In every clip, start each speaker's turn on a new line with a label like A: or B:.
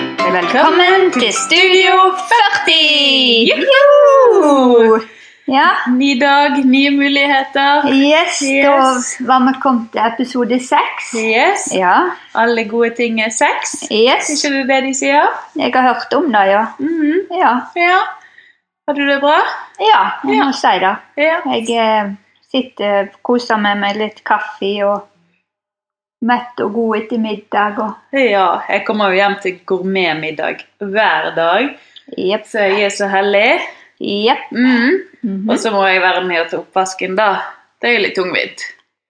A: Velkommen til Studio 40!
B: Juhu!
A: Ja,
B: Ny dag, nye muligheter.
A: yes,
B: Yes.
A: da var vi kommet til episode 6.
B: Yes.
A: Ja,
B: Alle gode ting er sex. Er
A: yes,
B: ikke det det de sier?
A: jeg har hørt om det, ja.
B: Mhm.
A: Ja,
B: Ja. Har du det bra?
A: ja jeg
B: Ja.
A: må si det.
B: Ja.
A: Jeg eh, sitter og koser meg med litt kaffe og mett og god ettermiddag og
B: ja. Jeg kommer jo hjem til gourmetmiddag hver dag,
A: jepp,
B: så jeg er så heldig.
A: jepp.
B: Mhm.
A: Mhm.
B: Og så må jeg være med og ta oppvasken, da. Det er jo litt tungvint.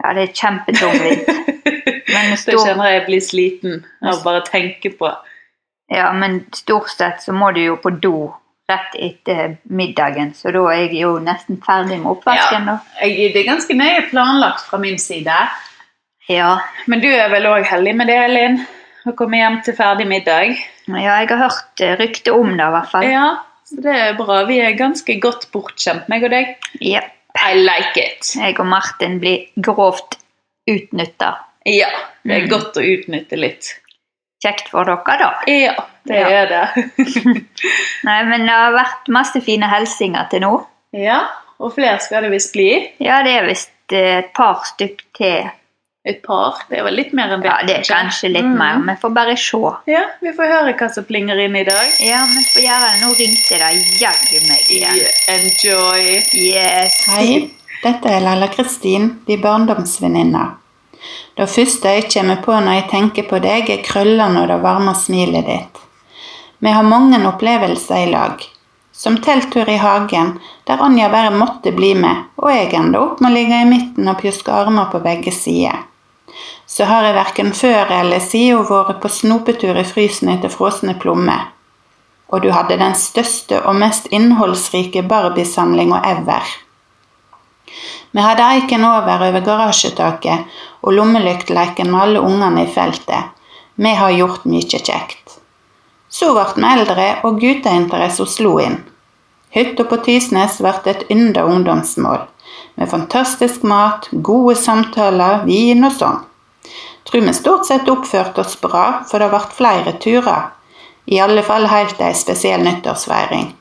A: Ja, det er kjempetungvint. Men
B: Så jeg
A: stor,
B: kjenner jeg blir sliten
A: Altså-
B: av bare å tenke på.
A: Ja, men stort sett så må du jo på do rett etter middagen, så da er jeg jo nesten ferdig med oppvasken. da.
B: Jeg, det er ganske nøye planlagt fra min side.
A: Ja.
B: Men du er vel òg heldig med det, Elin? Å komme hjem til ferdig middag.
A: ja, jeg har hørt eh, rykte om det i hvert fall.
B: Ja, så det er bra. Vi er ganske godt bortskjemt, meg og deg.
A: Ja.
B: I like it.
A: Jeg og Martin blir grovt utnytta.
B: Ja, det er
A: Mm.
B: godt å utnytte litt.
A: Kjekt for dere, da.
B: Ja, det
A: Ja.
B: er det.
A: Nei, men det har vært masse fine hilsinger til nå.
B: ja, og flere skal det visst bli.
A: Ja, det er visst eh, et par stykk til.
B: Et par. Det er vel litt mer enn det.
A: Ja, det er kanskje litt
B: Mm.
A: mer. Vi får bare se.
B: Ja, vi får høre hva som plinger inn i dag.
A: Ja, vi får gjøre det. Nå ringte det jaggu meg igjen.
B: Enjoy.
A: Yes.
C: Hei, dette er Laila Kristin, din barndomsvenninne. Det første jeg kommer på når jeg tenker på deg, er krøllene og det varme smilet ditt. Vi har mange opplevelser i lag. Som telttur i hagen, der Anja bare måtte bli med, og jeg enda opp med å ligge i midten og pjuske armer på begge sider. Så har jeg verken før eller siden vært på snopetur i frysen etter frosne plommer. Og du hadde den største og mest innholdsrike Barbie-samlinga ever. Vi hadde eiken over over garasjetaket og lommelyktleken med alle ungene i feltet. Vi har gjort mye kjekt. Så ble vi eldre, og gutteinteressen slo inn. Hytta på Tysnes ble et ynda ungdomsmål, med fantastisk mat, gode samtaler, vin og sånn. Tror vi stort sett oppførte oss bra, for det ble flere turer. I alle fall helt til ei spesiell nyttårsfeiring.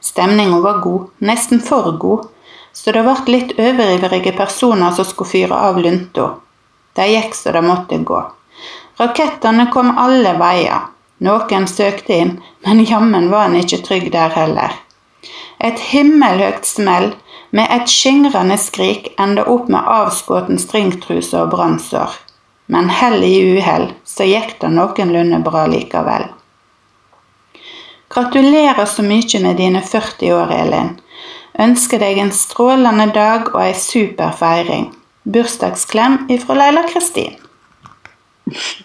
C: Stemninga var god, nesten for god, så det ble litt overivrige personer som skulle fyre av lunta. De gikk så det måtte gå. Rakettene kom alle veier. Noen søkte inn, men jammen var en ikke trygg der heller. Et himmelhøyt smell med et skingrende skrik enda opp med avskåten stringtruse og brannsår. Men hell i uhell, så gikk det noenlunde bra likevel. Gratulerer så mye med dine 40 år, Elin. Ønsker deg en strålende dag og ei super feiring. Bursdagsklem ifra Leila Kristin.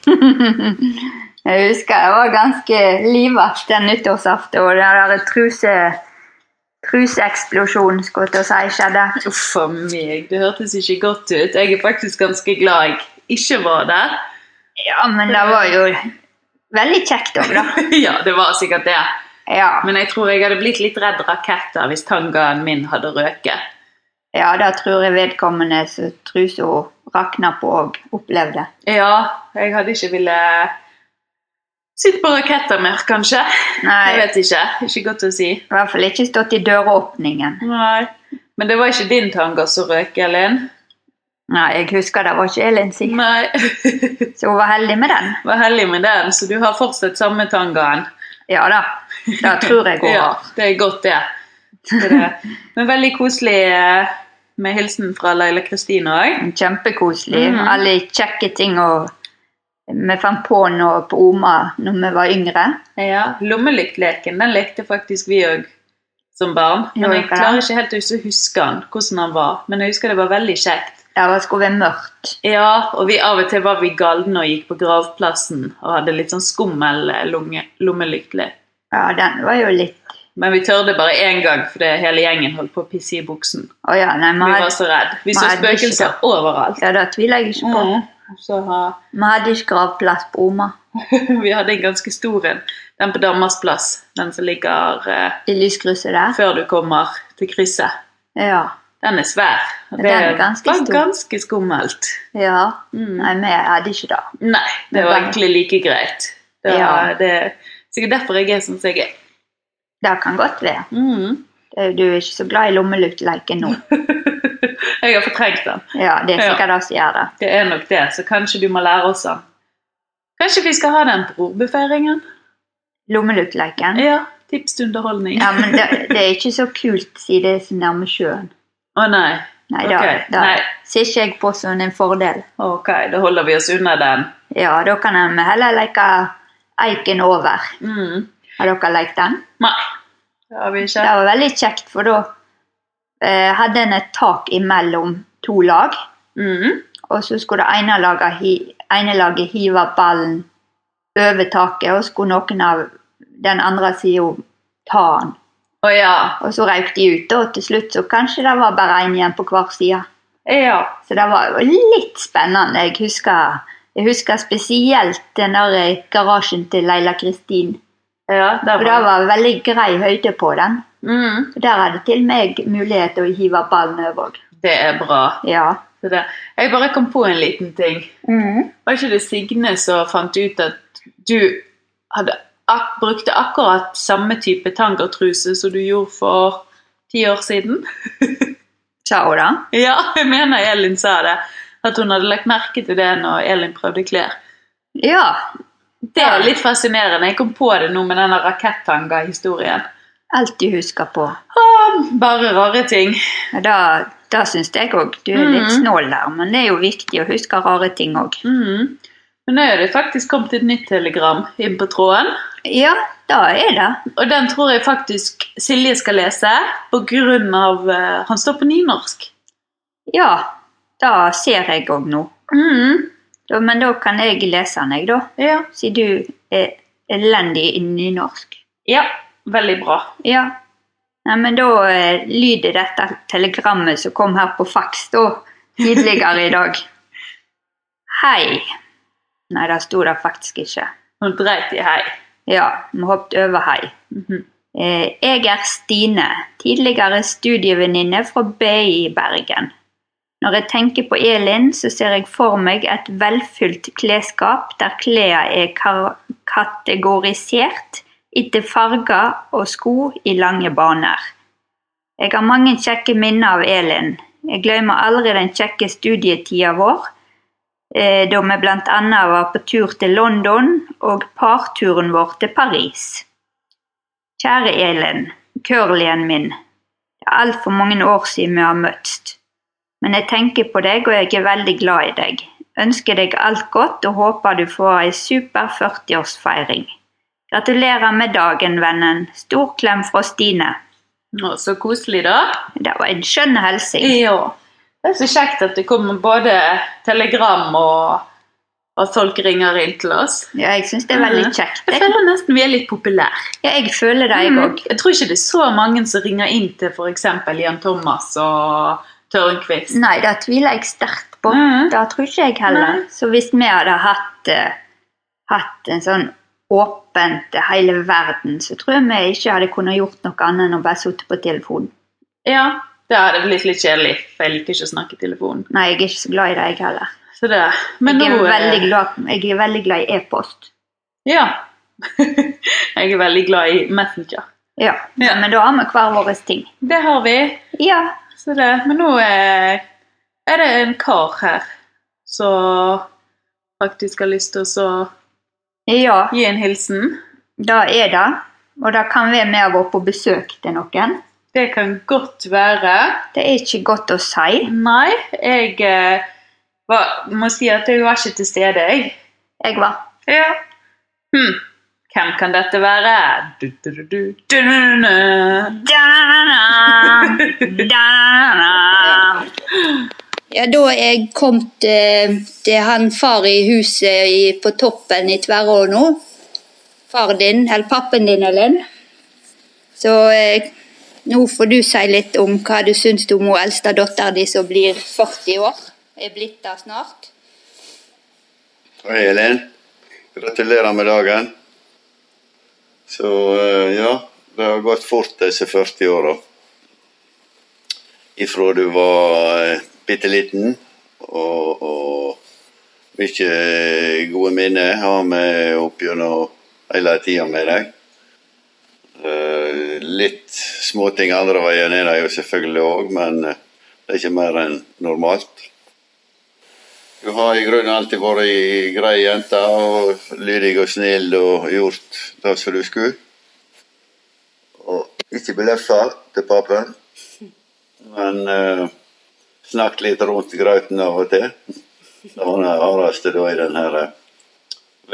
A: Jeg husker jeg var ganske livaktig den nyttårsaften, og den der truse, truseeksplosjonen skulle jeg til å si skjedde.
B: Uff a meg, det hørtes ikke godt ut. Jeg er faktisk ganske glad jeg ikke var der.
A: Ja, men det var jo veldig kjekt òg, da.
B: ja, det var sikkert det.
A: Ja,
B: Men jeg tror jeg hadde blitt litt redd raketter hvis tangaen min hadde røket.
A: ja da tror jeg vedkommende som trusa rakna på òg, opplevde.
B: Ja, jeg hadde ikke ville sitte på raketter mer, kanskje. Jeg
A: Nei,
B: vet ikke. Ikke godt å si.
A: i hvert fall ikke stått i døråpningen.
B: Nei. Men det var ikke din tanga som røk, Elin.
A: Nei, jeg husker det var ikke Elin sin,
B: Nei.
A: så hun var heldig med den.
B: Var heldig med den, så du har fortsatt samme tangaen.
A: Ja da, det tror jeg hun
B: Ja,
A: har.
B: det er godt, det. det, er det. Men veldig koselig eh, med hilsen fra Laila Kristine òg.
A: Kjempekoselig.
B: Mhm.
A: Alle kjekke ting og vi fant på nå på Oma når vi var yngre.
B: Ja, Lommelyktleken den lekte faktisk vi òg som barn. Men
A: Gjorde
B: jeg
A: dere
B: klarer ikke helt å huske han, hvordan han var. Men jeg husker det var veldig kjekt.
A: Der det skulle være mørkt.
B: Ja, og vi av og til var vi galne og gikk på gravplassen og hadde litt sånn skummel eh, lunge- lommelyktle.
A: Ja, den var jo litt
B: Men vi tørde bare én gang fordi hele gjengen holdt på å pisse i buksen.
A: Å ja, nei, vi
B: Vi var
A: hadde,
B: så redd. Vi
A: men
B: så
A: hadde vi ikke
B: spøkelser overalt.
A: ja, det tviler jeg ikke på.
B: Mm. Så ha-
A: Vi hadde ikke gravplass på Oma.
B: vi hadde en ganske stor en. Den på Damas plass. Den som ligger eh,
A: I lyskrysset der.
B: før du kommer til krysset.
A: Ja.
B: Den er svær. og
A: Den er ganske
B: var
A: stor.
B: ganske skummelt.
A: ja.
B: Mm.
A: Nei, vi hadde ikke det.
B: Nei, det
A: Men
B: var
A: den-
B: egentlig like greit. Det,
A: Ja.
B: var, det Sikkert derfor jeg er som jeg er.
A: Det kan godt være. Eh,
B: Mm.
A: Du er ikke så glad i lommelyktleken nå.
B: Jeg har fortrengt den.
A: Ja, det er
B: Ja.
A: sikkert det som gjør det.
B: Det er nok det, så kanskje du må lære oss den. Kanskje vi skal ha den på ordbefeiringen?
A: Lommelyktleken.
B: Ja. Tips til underholdning.
A: Mm. Ja, men det, det er ikke så kult siden det er så nærme sjøen.
B: Å nei.
A: Nei, da,
B: Ok,
A: da
B: nei.
A: ser ikke jeg på som en fordel.
B: Ok, da holder vi oss unna den.
A: Ja, da kan en heller leke Eiken over.
B: Mm.
A: Har dere lekt den?
B: Nei. Det har vi
A: Det
B: ikke.
A: var veldig kjekt, for da eh, hadde en et tak imellom to lag.
B: Mm.
A: Og så skulle det ene laget, hi, ene laget hive ballen over taket, og skulle noen av den andre sida ta den.
B: Å ja.
A: Og så røyk de ut, og til slutt så kanskje det var bare én igjen på hver side.
B: Ja.
A: Så det var jo litt spennende. Jeg husker, jeg husker spesielt den der eh, garasjen til Leila Kristin.
B: Ja,
A: Og
B: der var
A: det
B: den.
A: var veldig grei høyde på den.
B: Mm.
A: Og Der hadde til og med jeg mulighet til å hive ballen over òg.
B: Det er bra.
A: Ja.
B: Så det. Jeg bare kom på en liten ting. Var ikke det Signe som fant ut at du hadde ak brukte akkurat samme type tangertruse som du gjorde for ti år siden?
A: Sa hun det?
B: Ja, jeg mener Elin sa det. At hun hadde lagt merke til det når Elin prøvde klær.
A: Ja.
B: Det er litt fascinerende. Jeg kom på det nå med denne rakettanga-historien.
A: Alt du husker på.
B: Åh, Bare rare ting.
A: Ja, Da, da syns jeg òg. Du er litt
B: Mhm.
A: snål der, men det er jo viktig å huske rare ting òg.
B: Mhm. Men nå er det faktisk kommet et nytt telegram inn på tråden.
A: Ja, da er det.
B: Og den tror jeg faktisk Silje skal lese, på grunn av eh, Han står på nynorsk.
A: Ja. Da ser jeg òg nå.
B: Mhm.
A: Da, men da kan jeg lese den, jeg, da.
B: Ja.
A: Siden du er elendig i nynorsk.
B: ja. Veldig bra.
A: Ja. Nei, men da eh, lyder dette telegrammet som kom her på fax da, tidligere i dag. Hei. Nei, det sto det faktisk ikke.
B: Hun dreit i hei.
A: Ja, vi hoppet over hei.
B: Mhm.
A: Eh, Jeg er Stine, tidligere studievenninne fra BI i Bergen. Når jeg tenker på Elin, så ser jeg for meg et velfylt klesskap der klærne er kar- kategorisert etter farger og sko i lange baner. Jeg har mange kjekke minner av Elin. Jeg glemmer aldri den kjekke studietida vår, eh, da vi bl.a. var på tur til London og parturen vår til Paris. Kjære Elin, curlyen min. Det er altfor mange år siden vi har møtst. Men jeg tenker på deg, og jeg er veldig glad i deg. Ønsker deg alt godt og håper du får ei super 40-årsfeiring. Gratulerer med dagen, vennen. Stor klem fra Stine.
B: Å, så koselig, da.
A: Det var en skjønn hilsen.
B: Ja. Det er så kjekt at det kommer både telegram og at folk ringer inn til oss.
A: Ja, jeg syns det er Mm. veldig kjekt.
B: Jeg
A: Jeg,
B: føler Mm. nesten vi er litt populære.
A: ja, jeg føler det, jeg òg.
B: Jeg tror ikke det er så mange som ringer inn til f.eks. Jan Thomas og Tørnquist.
A: Nei, det tviler jeg sterkt på.
B: Mhm.
A: Det tror ikke jeg heller.
B: Nei.
A: Så hvis vi hadde hatt, eh, hatt en sånn åpent til hele verden, så tror jeg vi ikke hadde kunnet gjort noe annet enn å bare sitte på telefonen.
B: Ja, det hadde blitt litt kjedelig, for jeg liker ikke å snakke i telefonen.
A: Nei, jeg er ikke så glad i det, jeg heller.
B: Så det. Men
A: jeg, er
B: nå, eh,
A: veldig glad, jeg er veldig glad i e-post.
B: Ja. jeg er veldig glad i Messenger.
A: Ja.
B: Ja.
A: Men da har vi hver vår ting.
B: Det har vi.
A: Ja.
B: Så det. Men nå eh, er det en kar her som faktisk har lyst til å
A: ja,
B: gi en hilsen.
A: det er det. Og det kan være vi har vært på besøk til noen.
B: Det kan godt være.
A: Det er ikke godt å si.
B: Nei, jeg eh, var, må si at jeg var ikke til stede, jeg.
A: Jeg var
B: Ja. Hm. Hvem kan dette være? Du, du, du, du, du, du, du.
A: Da-na-na-na. Da-na-na-na.
D: Ja, da jeg kom til, til han far i huset i, på toppen i Tverrå nå, far din, eller pappen din, Elin, så eh, nå får du si litt om hva du syns om hun eldste dattera di som blir 40 år, er blitt der snart.
E: Hei, Elin. Gratulerer med dagen. Så eh, ja, det har gått fort disse 40 åra. Ifra du var uh, bitte liten og, eh, og mye gode minner har vi opp gjennom hele tida med deg. Eh, litt småting andre veien er det jo selvfølgelig òg, men eh, det er ikke mer enn normalt. Du har i grunnen alltid vært ei grei jente, og lydig og snill og gjort det som du skulle. Og ikke bløffa til papen, men eh, snakket litt rundt grøten av og til. Det var det hardeste da i den her eh,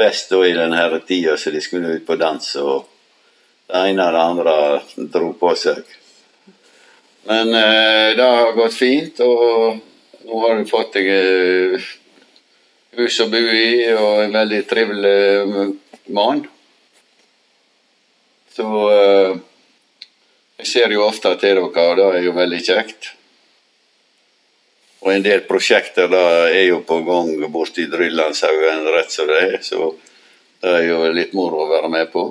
E: vest da i den her tida så de skulle ut på dans og det ene og det andre dro på seg. Men eh, det har gått fint, og nå har du fått deg eh, hus å bo i og en veldig trivelig eh, mann. Så eh, jeg ser jo ofte til dere, og det er jo veldig kjekt. Og en del prosjekter da er jo på gang borte i Drillandshaugen rett som det er, så det er jo litt moro å være med på.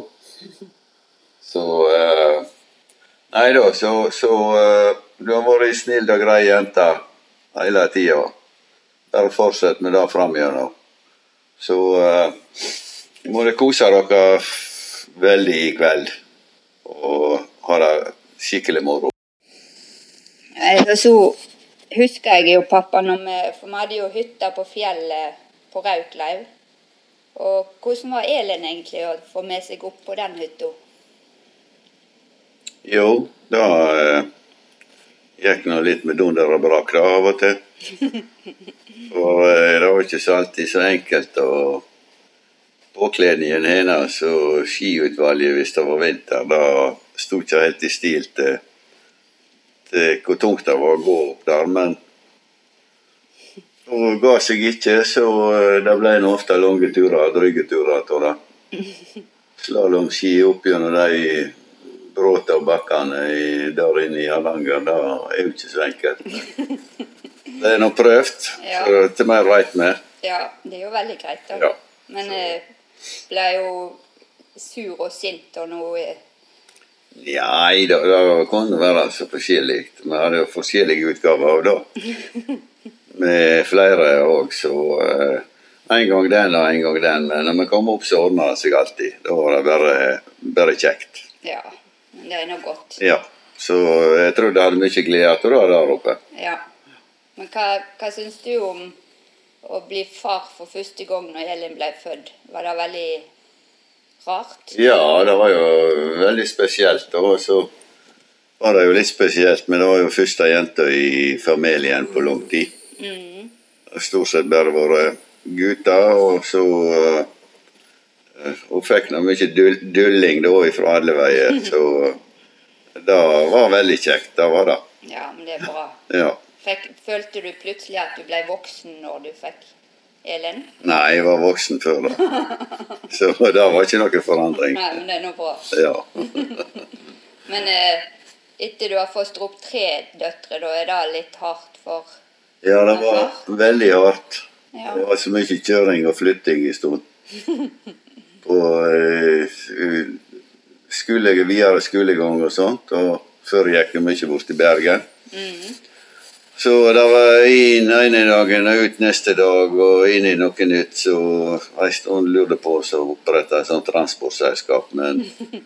E: Så eh, Nei da, så, så eh, du har vært ei snill og grei jente hele tida. Bare fortsett med det framgjennom. Så eh, må dere kose dere veldig i kveld og ha det skikkelig moro.
D: Eh,
A: Nei, Og så husker jeg jo pappa når vi For vi hadde jo hytta på fjellet på Rauklauv. Og hvordan var Elin egentlig å få med seg opp på den hytta?
E: Jo, da eh, gikk nå litt med dunder og brak da av og til. For eh, det var ikke så alltid så enkelt å Påkledningen hennes og skiutvalget hvis det var vinter, da sto ikke helt i stil til, til hvor tungt det var å gå opp der, men hun ga seg ikke, så eh, det ble nå ofte lange turer og dryge turer av det. Slalåmski opp gjennom de bråta og bakkene i- der inne i Hardanger, det er jo ikke så enkelt. men Det er nå prøvd,
A: Ja.
E: så til mer veit vi.
A: Ja, det er jo veldig greit, da.
E: Ja.
A: Men jeg ble jo sur og sint og noe eh,
E: Nei da, det kan jo være så forskjellig. Vi hadde jo forskjellige utgaver av det. Med flere òg, så eh, En gang den og en gang den. Men når vi kom opp, så ordna det seg alltid. Da var det bare, bare kjekt.
A: Ja, men det er nå godt.
E: Ja. Så jeg tror det hadde mye glede av det der oppe.
A: Ja. Men hva, hva syns du om å bli far for første gang når Elin ble født? Var det veldig rart?
E: Ja, det var jo veldig spesielt. Og så var det jo litt spesielt, men det var jo første jenta i familien på lang tid. Det har Stort sett bare vært gutter, og så eh, Hun fikk nå mye dull- dulling da ifra alle veier, så det var veldig kjekt. Det var det.
A: Ja, men det er bra.
E: Ja.
A: Fikk, følte du plutselig at du ble voksen når du fikk Elin?
E: Nei, jeg var voksen før da, så det var ikke noen forandring.
A: Nei, men det er nå bra.
E: Ja.
A: Men eh, etter du har fostret opp tre døtre, da er det litt hardt for
E: Ja, det var veldig hardt.
A: Ja.
E: Det var så mye kjøring og flytting en stund. Og eh, skulle jeg videre skolegang og sånt, og før gikk jeg mye bort til Bergen. Så det var inn ene dagen og ut neste dag, og inn i noe nytt. Så en stund lurte på å opprette et sånt transportselskap, men det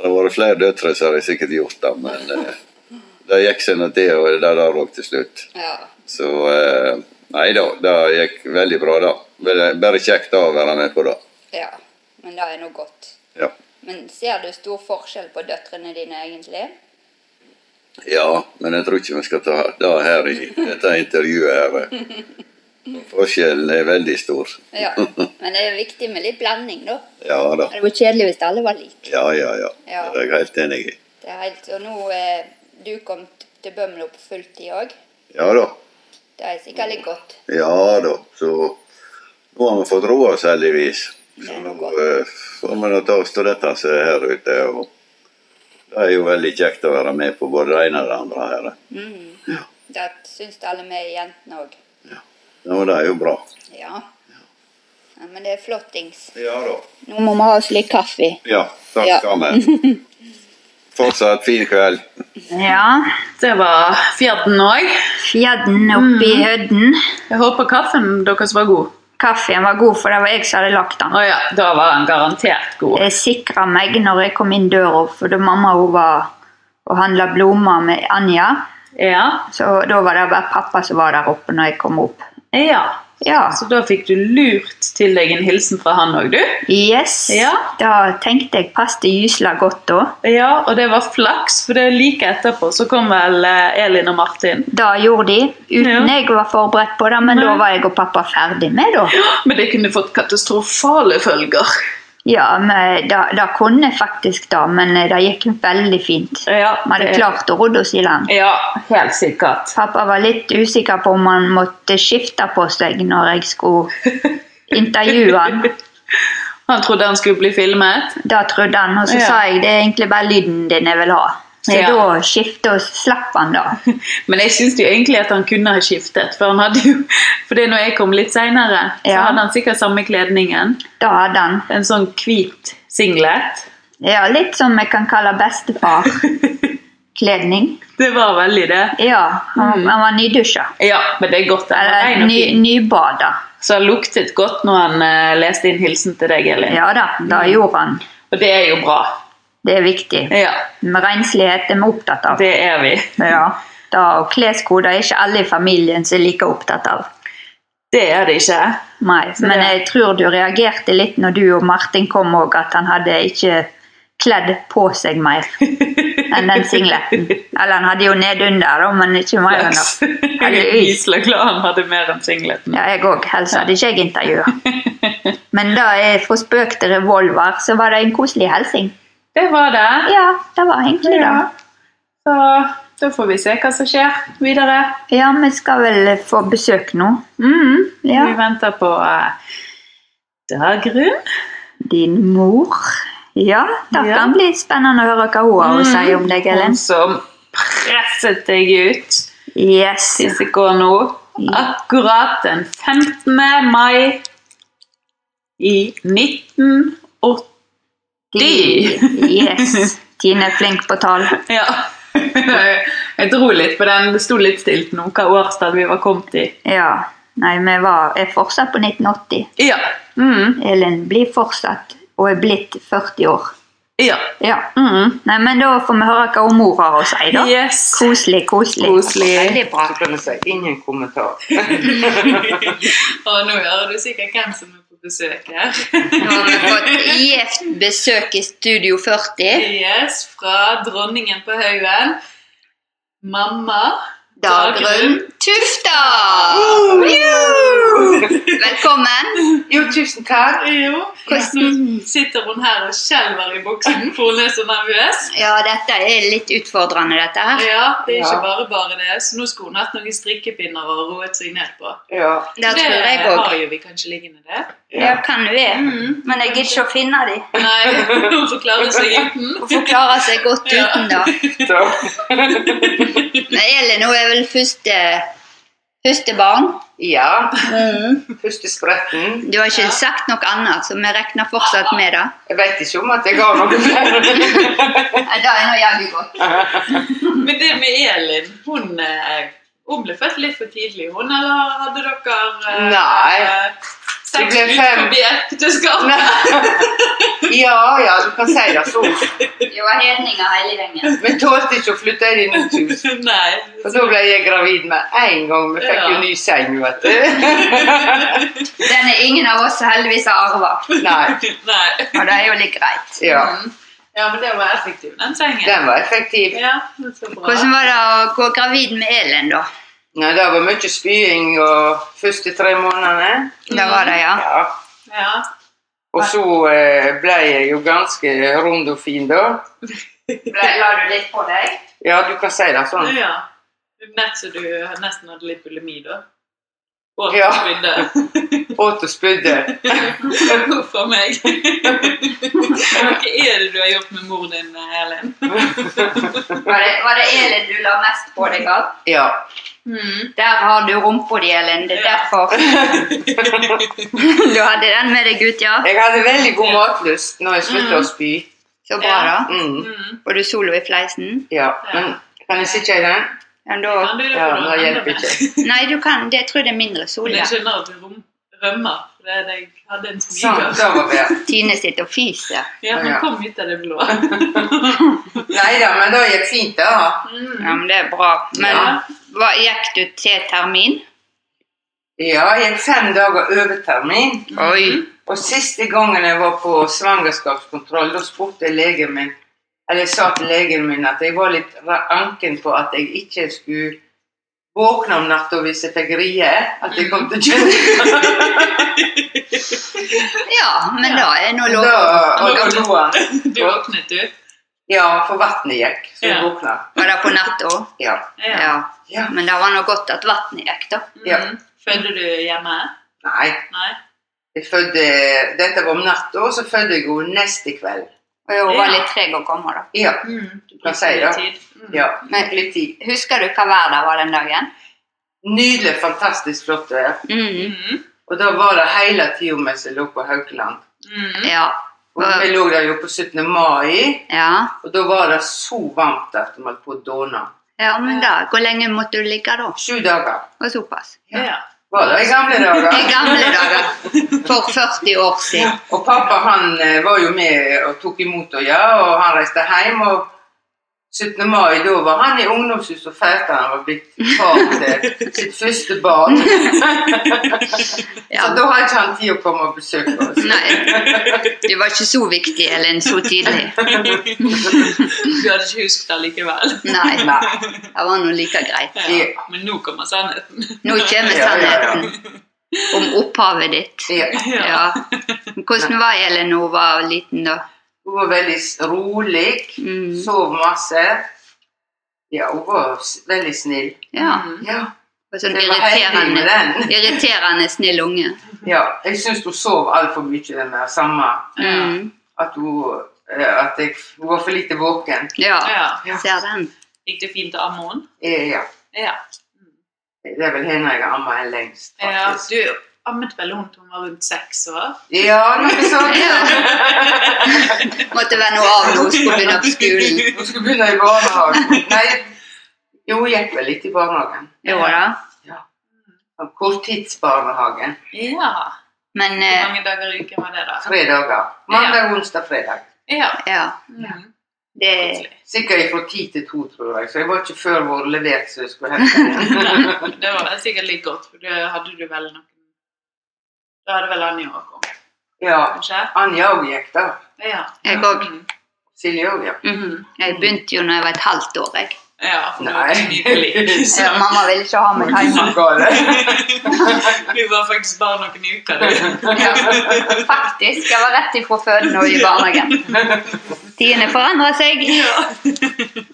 E: har vært flere døtre som har sikkert gjort det, men eh, det gikk seg nå til, og det der òg til slutt.
A: Ja.
E: Så eh, nei da, det gikk veldig bra da. Bare bare kjekt da å være med på det.
A: ja. Men det er nå godt.
E: Ja.
A: Men ser du stor forskjell på døtrene dine, egentlig?
E: ja, men jeg tror ikke vi skal ta det her i dette intervjuet her. Forskjellen er veldig stor.
A: Ja. Men det er viktig med litt blanding, da.
E: Ja da.
A: Det var kjedelig hvis alle var like.
E: Ja, ja, ja. Det
A: Ja.
E: er jeg helt enig i.
A: Det er helt, og nå eh, du kom t- til Bømlo på fulltid òg.
E: Ja da.
A: Det er sikkert litt godt.
E: Ja da. Så nå har vi fått roa oss, heldigvis. Så nå eh, får vi nå ta oss til dette som er her ute. Og det er jo veldig kjekt å være med på både det ene og det andre her.
A: Det syns alle vi jentene òg.
E: Ja, det er jo bra.
A: Ja. ja. Men det er flottings.
E: Ja da.
A: Nå må vi ha oss litt kaffe.
E: Ja, takk
A: Ja.
E: skal vi. Fortsatt fin kveld.
F: Ja,
B: Det var fjerden òg.
A: Mm.
F: fjedden oppi hødden.
B: Jeg håper kaffen deres var god.
A: Kaffen var god, for det var jeg som hadde lagt den.
B: Å ja, da var han garantert god.
A: Jeg eh, sikra meg når jeg kom inn døra, for da mamma hun var og handla blomster med Anja,
B: Ja.
A: så da var det bare pappa som var der oppe når jeg kom opp.
B: ja.
A: Ja.
B: Så da fikk du lurt til deg en hilsen fra han òg, du.
A: Yes.
B: Ja.
A: Da tenkte jeg passet gysla godt da.
B: Ja, og det var flaks, for det like etterpå så kom vel eh, Elin og Martin.
A: Da gjorde de, uten
B: Ja.
A: jeg var forberedt på det, men da var jeg og pappa ferdig med da.
B: Men det kunne fått katastrofale følger.
A: Ja, men da, da kunne jeg faktisk da, men eh, det gikk veldig fint.
B: Ja,
A: Vi hadde klart å rodde oss i land.
B: Ja, helt sikkert.
A: Pappa var litt usikker på om han måtte skifte på seg når jeg skulle intervjue han.
B: Han trodde han skulle bli filmet.
A: Da trodde han, og så
B: Ja.
A: sa jeg det er egentlig bare lyden din jeg vil ha. Så
B: Ja.
A: da skiftet og slapp han da.
B: Men jeg syns jo egentlig at han kunne ha skiftet, for han hadde jo For det er når jeg kom litt seinere, så
A: Ja.
B: hadde han sikkert samme kledningen.
A: Da hadde han
B: En sånn hvit singlet.
A: ja, litt som jeg kan kalle bestefar-kledning.
B: Det var veldig det.
A: Ja, han, han var nydusja.
B: Ja, men det er godt. Mm. Han var
A: Eller
B: rein
A: Eh,
B: og
A: ny,
B: fin.
A: nybada.
B: Så han luktet godt når han eh, leste inn hilsen til deg, Elin.
A: Ja da, da
B: Mm.
A: gjorde han.
B: Og det er jo bra.
A: Det er viktig.
B: Ja,
A: Med renslighet er vi opptatt av.
B: det er vi.
A: Ja. Da, og kleskoder er ikke alle i familien som er like opptatt av.
B: Det er det ikke.
A: Nei,
B: det-
A: men jeg tror du reagerte litt når du og Martin kom òg, at han hadde ikke kledd på seg mer enn den singleten. Eller han hadde jo nedunder, da, men ikke mer
B: Flaks.
A: under.
B: Jeg er
A: Heldigvis.
B: gyselig glad han hadde mer enn singleten.
A: Ja, jeg òg. Helst hadde ikke jeg intervjua. Men da jeg fra spøk til revolver, så var det en koselig hilsing.
B: Det var det.
A: Ja, det var egentlig det.
B: Ja. Så da får vi se hva som skjer videre.
A: Ja, vi skal vel få besøk nå.
B: Mhm.
A: Ja.
B: Vi venter på eh, Dagrun.
A: Din mor. Ja, det
B: Ja. Mm.
A: kan bli spennende å høre hva hun har å si om deg,
B: Hun
A: Ellen.
B: som presset deg ut.
A: Yes.
B: Siste går nå. Akkurat den 15. mai i 1980.
A: De. Yes. Tine er flink på tall.
B: Ja. Jeg dro litt på den. Det sto litt stilt nå hva årstid vi var kommet i.
A: Ja. Nei, vi var, er fortsatt på 1980.
B: Ja. Mm.
A: Elin blir fortsatt og er blitt 40 år.
B: ja.
A: Ja. mm. Nei, men da får vi høre hva hun mor har å si, da.
B: Yes.
A: Koselig, koselig.
B: Koselig.
A: Veldig bra.
G: Så kan jeg si ingen kommentar.
B: Og nå hører du sikkert hvem som er på besøk her.
A: Nå har vi fått gjevt besøk i Studio 40.
B: Yes, fra dronningen på haugen. Mamma.
A: Dagrun Tufta! Velkommen.
G: Jo, tusen takk.
B: Jo. Nå sitter hun her og skjelver i buksen, for hun er så nervøs.
A: Ja, dette er litt utfordrende, dette her.
B: Ja, det er ikke
G: Ja.
B: bare bare det. Så nå skulle hun hatt noen strikkepinner og roet seg ned på.
G: Ja.
A: Det tror jeg òg.
B: har jo vi kanskje liggende der.
A: Ja, kan du være. Men jeg gidder ikke å finne de.
B: Nei, hun får klare seg uten.
A: Hun får klare seg godt
B: Ja.
A: uten, da.
G: Så.
A: Men Elin hun er vel første, første barn.
G: ja.
A: Mm.
G: Første spretten.
A: Du har ikke sagt noe annet, så vi regner fortsatt med det.
G: Jeg vet ikke om at jeg har noe flere.
A: Ja, Det er nå jævlig godt.
B: Men det med Elin, hun, eh, hun ble født litt for tidlig, hun, eller hadde dere eh,
G: Nei.
B: eh,
G: Det
B: Sex
G: ble fem.
B: utenfor ekteskapet?
G: Ja, ja, du kan si det sånn.
A: Det var hedninger hele gjengen.
G: Vi tålte ikke å flytte inn i nytt hus.
B: Nei.
G: Og da ble jeg gravid med en gang. Vi fikk jo ny seng, vet du.
A: Den er ingen av oss som heldigvis har arva.
G: Nei.
B: Nei.
A: Og det er jo litt greit.
G: Ja.
B: Mm. ja, men det var effektiv, den sengen.
G: Den var effektiv.
B: Ja, det så bra.
A: Hvordan var det å gå gravid med Elin, da?
G: Nei, det var mye spying og første tre månedene.
A: Det var det, ja.
G: Ja.
B: Ja.
G: Og så eh, ble jeg jo ganske rund og fin da.
A: La du litt på deg?
G: Ja, du kan si det sånn.
B: ja. Nett så du nesten hadde litt bulimi, da. Og
G: Ja.
B: spydde.
G: Åt og spydde.
B: Huff a meg. Hva er det du har gjort med mor din, Elin?
A: Var det, var det Elin du la mest på deg av?
G: Ja. Mm.
A: Der har du rumpa di, Elin. Det er
B: Ja.
A: derfor. du hadde den med deg ut, ja?
G: Jeg hadde veldig god matlyst når jeg sluttet å spy.
A: Så bra,
B: Ja.
A: da.
G: Mm.
B: Mm.
A: Var du solo i fleisen?
G: Ja, men kan jeg sitte i den?
A: Ja,
B: Kan
A: da,
B: du det
G: Ja,
B: for noe
G: det hjelper
B: annet?
G: ikke.
A: nei, du kan, det, jeg tror det er mindre sol.
B: Men
A: Ja.
B: jeg skjønner at rom, rømmer. For det er det jeg hadde en
G: Sånn,
B: smiger.
G: da var vi
A: Tine sitter og fiser.
B: Ja, han
G: Ja.
B: kom ut av det blå.
G: Nei da, men det gikk fint, da.
A: Ja, men det er bra. Men
G: Ja.
A: hva, gikk du til termin?
G: Ja, jeg gikk fem dager over termin.
A: Oi.
G: Og siste gangen jeg var på svangerskapskontroll, da spurte legen min Eller jeg sa til legen min at jeg var litt ra- anken på at jeg ikke skulle våkne om natta hvis jeg fikk rie. At jeg kom til kjøkkenet.
A: Ja, men da er nå lov.
G: Da- og da lo han.
B: Du våknet, du?
G: Ja, for vannet gikk, så jeg
B: Ja.
G: våkna.
A: Var det på natta òg?
G: Ja.
A: Ja.
G: ja.
A: Men det var nå godt at vannet gikk, da.
G: Ja.
B: Mhm. Fødte du hjemme?
G: Nei.
B: Nei?
G: Jeg fødte, dette var om natta, og så fødte jeg henne neste kveld.
A: Og hun var
B: Ja.
A: litt treg å komme, da.
G: Ja.
B: Mm.
G: Hva sier du?
A: Mm.
G: ja.
A: Men-
G: Litt tid.
A: Husker du hva vær det var den dagen?
G: Nydelig, fantastisk flott vær.
A: Mm.
G: Og da var det hele tida mens jeg lå på Haukeland.
B: Mm.
A: Mhm. Ja.
G: Og vi lå der jo på 17. mai,
A: ja.
G: og da var det så varmt at vi holdt på å dåne.
A: Ja, men da, Hvor lenge måtte du ligge da?
G: Sju dager
A: Og såpass.
B: Ja. ja.
G: var det i gamle
A: I
G: dager.
A: gamle dager. For 40 år siden.
G: Og pappa han eh, var jo med og tok imot henne, ja, og han reiste hjem. Og 17. mai, da var han i ungdomshuset og feirte han var blitt far til sitt første barn.
A: Ja.
G: Så da har ikke han tid å komme og besøke oss.
A: Nei, du var ikke så viktig, Ellen, så tidlig.
B: Du hadde ikke husket det likevel.
A: Nei,
G: Nei.
A: det var nå like greit.
B: Ja. Men nå kommer sannheten.
A: Nå kommer
G: Ja, ja, ja.
A: sannheten om opphavet ditt.
G: Ja.
A: Ja. Hvordan var Ellen da hun var liten, da?
G: Hun var veldig s- rolig,
A: Mm.
G: sov masse. Ja, hun var s- veldig snill.
A: Ja,
B: Mhm.
G: Ja,
A: og sånn
G: jeg var heldig med
A: irriterende,
G: den.
A: irriterende snill unge.
G: Ja, jeg syns hun sov altfor mye, den der samme.
A: Mm.
G: At hun, eh, at jeg, hun var for lite våken.
A: Ja,
B: Ja.
A: ser den.
B: Gikk det fint å amme henne?
G: Eh, Ja.
B: Ja.
G: Det er vel henne jeg har ammet en lengst,
B: ja.
G: faktisk.
B: Du ammet vel henne til hun var rundt seks år?
G: Ja, noe sånt.
A: Ja. Måtte være noe av når hun skulle begynne på skolen.
G: Hun skulle begynne i barnehagen. Nei, jo, hun gikk vel litt i barnehagen.
A: Jo da.
G: Sånn Korttidsbarnehagen.
B: Ja.
A: Men
B: Hvor
A: eh,
B: mange dager i uken var det, da?
G: Tre dager. Mandag, onsdag, fredag.
B: Ja.
A: ja,
B: Mhm.
A: det
G: Sikkert fra ti til to, tror jeg. Så jeg var ikke før vært levert, så jeg skulle hente den.
B: Det var sikkert litt godt, for det hadde du vel noen Da hadde vel Anja òg kommet,
G: Ja.
B: kanskje?
G: Anja òg gikk, da.
B: Ja.
A: Jeg òg.
B: Mhm.
G: Silje òg, ja.
A: Mhm. Jeg begynte jo når jeg var et halvt år. jeg.
B: Ja, for det var
G: Nei.
B: ikke mye lik. Så
A: Ja, mamma ville ikke ha meg hjemme.
B: Vi var faktisk bare noen uker, du.
A: Ja. Faktisk. Jeg var rett ifra føden og i barnehagen. Tidene forandrer seg.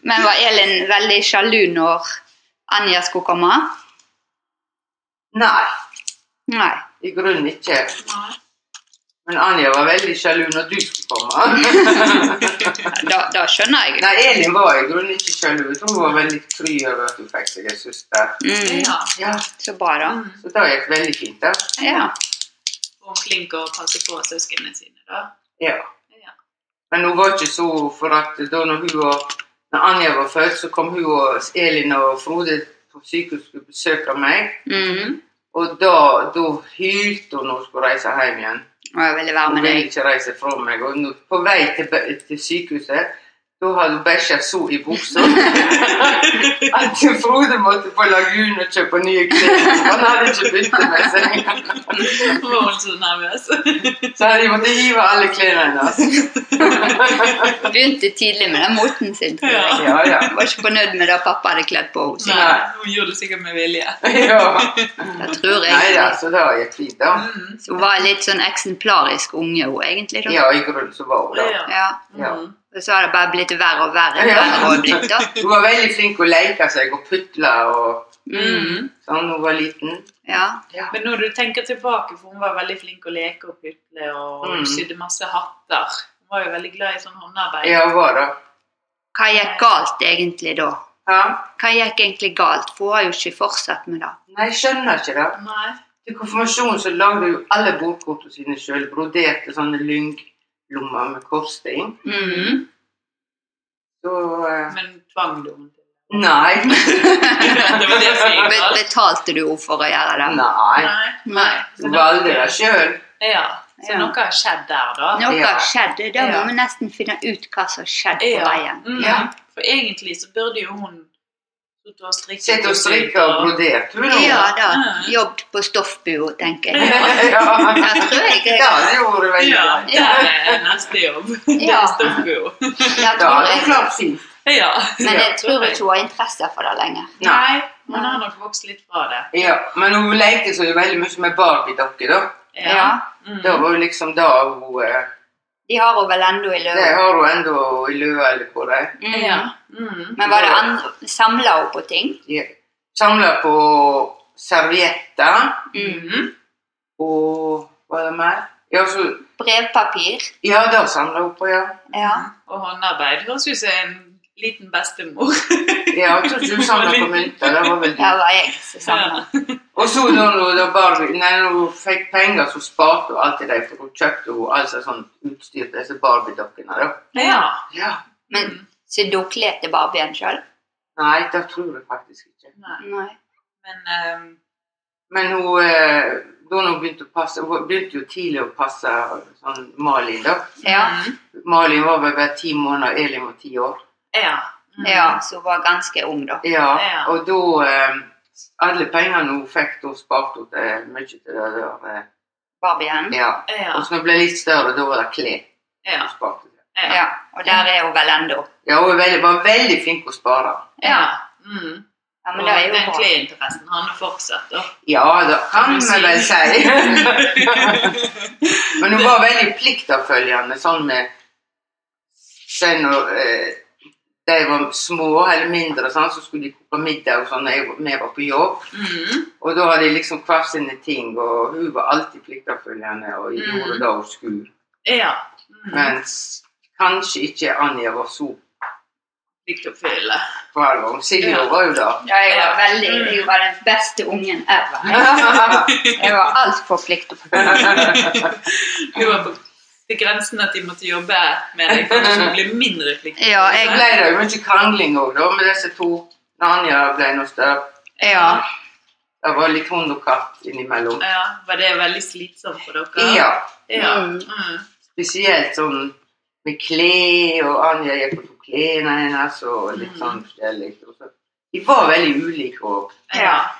A: Men var Elin veldig sjalu når Anja skulle komme?
G: Nei,
A: Nei.
G: i grunnen ikke. Men Anja var veldig sjalu når du skulle komme.
A: Da, da skjønner jeg.
G: Nei, Elin var i grunnen ikke sjalu. Jeg tror hun var veldig kry over at hun fikk seg en søster.
A: Mm,
B: Ja.
G: Ja,
A: så bra, da.
B: Mhm.
G: så det gikk veldig fint, da.
A: Ja.
B: Og hun er flink å passe på søsknene sine, da.
G: Ja.
B: Ja.
G: Men hun var ikke så for at da når hun og når Anja var født, så kom hun og Elin og Frode på sykehus skulle besøke meg.
A: Mm.
G: Og da, da hylte hun når hun skulle reise hjem igjen.
A: Og jeg ville være
G: Hun
A: med
G: ville
A: deg.
G: ikke reise fra meg. Og nå, på vei til, be- til sykehuset, da hadde hun bæsja så i buksa at Frode måtte på Lagunen og kjøpe nye klær. Han hadde ikke byttet med seg.
B: Hun var hun så nervøs.
G: Så de måtte hive alle klærne hennes.
A: Begynte tidlig med den moten sin. tror jeg.
G: Ja, ja.
A: Jeg var ikke fornøyd med det pappa hadde kledd på henne. sikkert.
B: Nei, hun gjorde det sikkert med vilje.
G: ja.
A: Det tror
G: Nei da,
A: jeg.
G: så det gikk fint, da.
B: Mhm.
A: Så Hun var litt sånn eksemplarisk unge, hun egentlig. da.
G: Ja, i grunnen så var hun det.
B: Ja.
A: Ja.
G: Ja.
B: Mhm.
A: Og så har det bare blitt verre og verre.
G: Ja.
A: verre og blitt, da.
G: Hun var veldig flink å leke seg og putle og
B: Mhm.
G: sånn hun var liten.
A: Mm. Ja.
B: Men når du tenker tilbake, for hun var veldig flink å leke og putle, og hun
A: Mm.
G: Mhm.
B: sydde masse hatter. Hun var jo veldig glad i sånn håndarbeid.
G: Ja, hun var det.
A: Hva gikk galt egentlig da?
G: Hæ?
A: Hva gikk egentlig galt? For hun har jo ikke fortsatt med det.
G: Nei, jeg skjønner ikke det.
B: Nei.
G: Til konfirmasjonen så lagde jo alle bordkortene sine sjøl, broderte sånne lynglommer med korsting.
A: Mm.
G: Så eh,
B: Men tvang du henne til
G: Nei.
B: det var det jeg sier.
A: Be- Betalte du henne for å gjøre det?
G: Nei.
B: Nei. Nei. Så
G: Du
B: noe-
G: valgte det sjøl.
B: Ja. Så
A: Ja.
B: noe har skjedd der, da.
A: Noe
G: Ja.
A: skjedde. Da må
B: Ja.
A: vi nesten finne ut hva som skjedde på
B: Ja.
A: veien.
B: Mm.
G: Ja.
B: For egentlig så burde jo hun sitte og strikke.
G: Sitter og strikker og broderer, tror du?
A: Ja da.
B: Ja.
A: Jobbet på stoffbua, tenker jeg.
G: ja.
A: Der tror jeg jeg
G: Ja, det gjorde du veldig
B: Ja,
G: bra.
B: det er neste jobb. Det
A: Ja.
B: stopper jo.
A: der
G: Ja,
A: tror
G: det er
A: jeg.
G: klart fint.
B: Ja.
A: Men jeg tror ikke hun har interesse for det lenger.
B: Nei, man har nok vokst litt fra det.
G: Ja, men hun lekte så jo veldig mye med Barbie-dokker, da.
A: Ja.
B: Mm.
G: Det var jo liksom da hun eh,
A: De har hun vel ennå i
G: Det
A: løpet.
G: har hun ennå i løa eller hvor det er.
B: Ja.
A: Mm.
B: Mm.
A: Men var det andre Samla hun på ting?
G: De Samler på servietter
B: Mm.
G: og hva er det mer? Ja, så,
A: Brevpapir?
G: ja da samler hun på, ja.
A: Ja.
B: Og håndarbeid høres ut som en liten bestemor.
G: Ja, jeg tror ikke hun samler på mynter. Det var vel
A: Der var jeg som samla.
G: Og så da hun, da Barbie, nei, når hun fikk penger, så sparte hun alltid dem, for hun kjøpte hun altså sånn utstyr til disse Barbie-dokkene. da.
B: Ja.
G: Ja.
A: Men så du kledde Barbien sjøl?
G: Nei, det tror jeg faktisk ikke.
B: Nei.
A: Nei.
B: Men ehm,
G: Men hun, eh, da hun begynte å passe, hun begynte jo tidlig å passe sånn Malin, da.
A: Ja.
B: mm.
G: Malin var vel bare ti måneder, Elin var ti år.
B: ja. Mm.
A: ja, så hun var ganske ung, da.
G: Ja,
B: Ja.
G: og da eh, Alle pengene hun fikk, da sparte hun til mye til det der. eh,
A: Barbien.
G: Ja.
B: Ja.
G: Og så når hun ble litt større, da var det klær
B: Ja.
G: hun sparte til.
B: Ja.
A: Ja, og der er hun vel ennå.
G: Ja, hun er veldig, var veldig flink til å spare.
B: ja. Mm.
A: Ja, men
B: Og
A: det er jo
B: den
A: bra.
B: kleinteressen han har fortsatt, da.
G: Ja, det kan vi vel si. Men hun var veldig pliktoppfølgende sånn med Sen når eh, de var små eller mindre, sånn, så skulle de koke middag og sånn, når jeg var- vi var på jobb.
B: Mm.
G: Og da hadde de liksom hver sine ting, og hun var alltid pliktoppfølgende og gjorde
B: Mm.
G: det hun skulle.
B: Ja. Mm.
G: Mens kanskje ikke Anja var så
B: Likt å fylle.
G: på alvor. Silje
B: Ja.
G: var jo det.
A: Ja, jeg var veldig, jeg var den beste ungen ever. Jeg var altfor pliktoppfyllende.
B: Hun var på til grensen at de måtte jobbe med deg for at hun ble mindre pliktig.
A: Ja,
G: Det
A: jeg,
G: ble det jo mye krangling òg, da, med disse to. Når Anja ble noe større.
A: ja.
G: Det var litt hund og katt innimellom.
B: Ja, var det veldig slitsomt for dere?
G: Ja.
B: ja.
A: Mm.
B: Mm.
G: spesielt sånn med klær, og Anja gikk og tok klærne hennes, og litt sånn
B: Mm.
G: forskjellig. Og så- De var veldig ulike og
B: ja.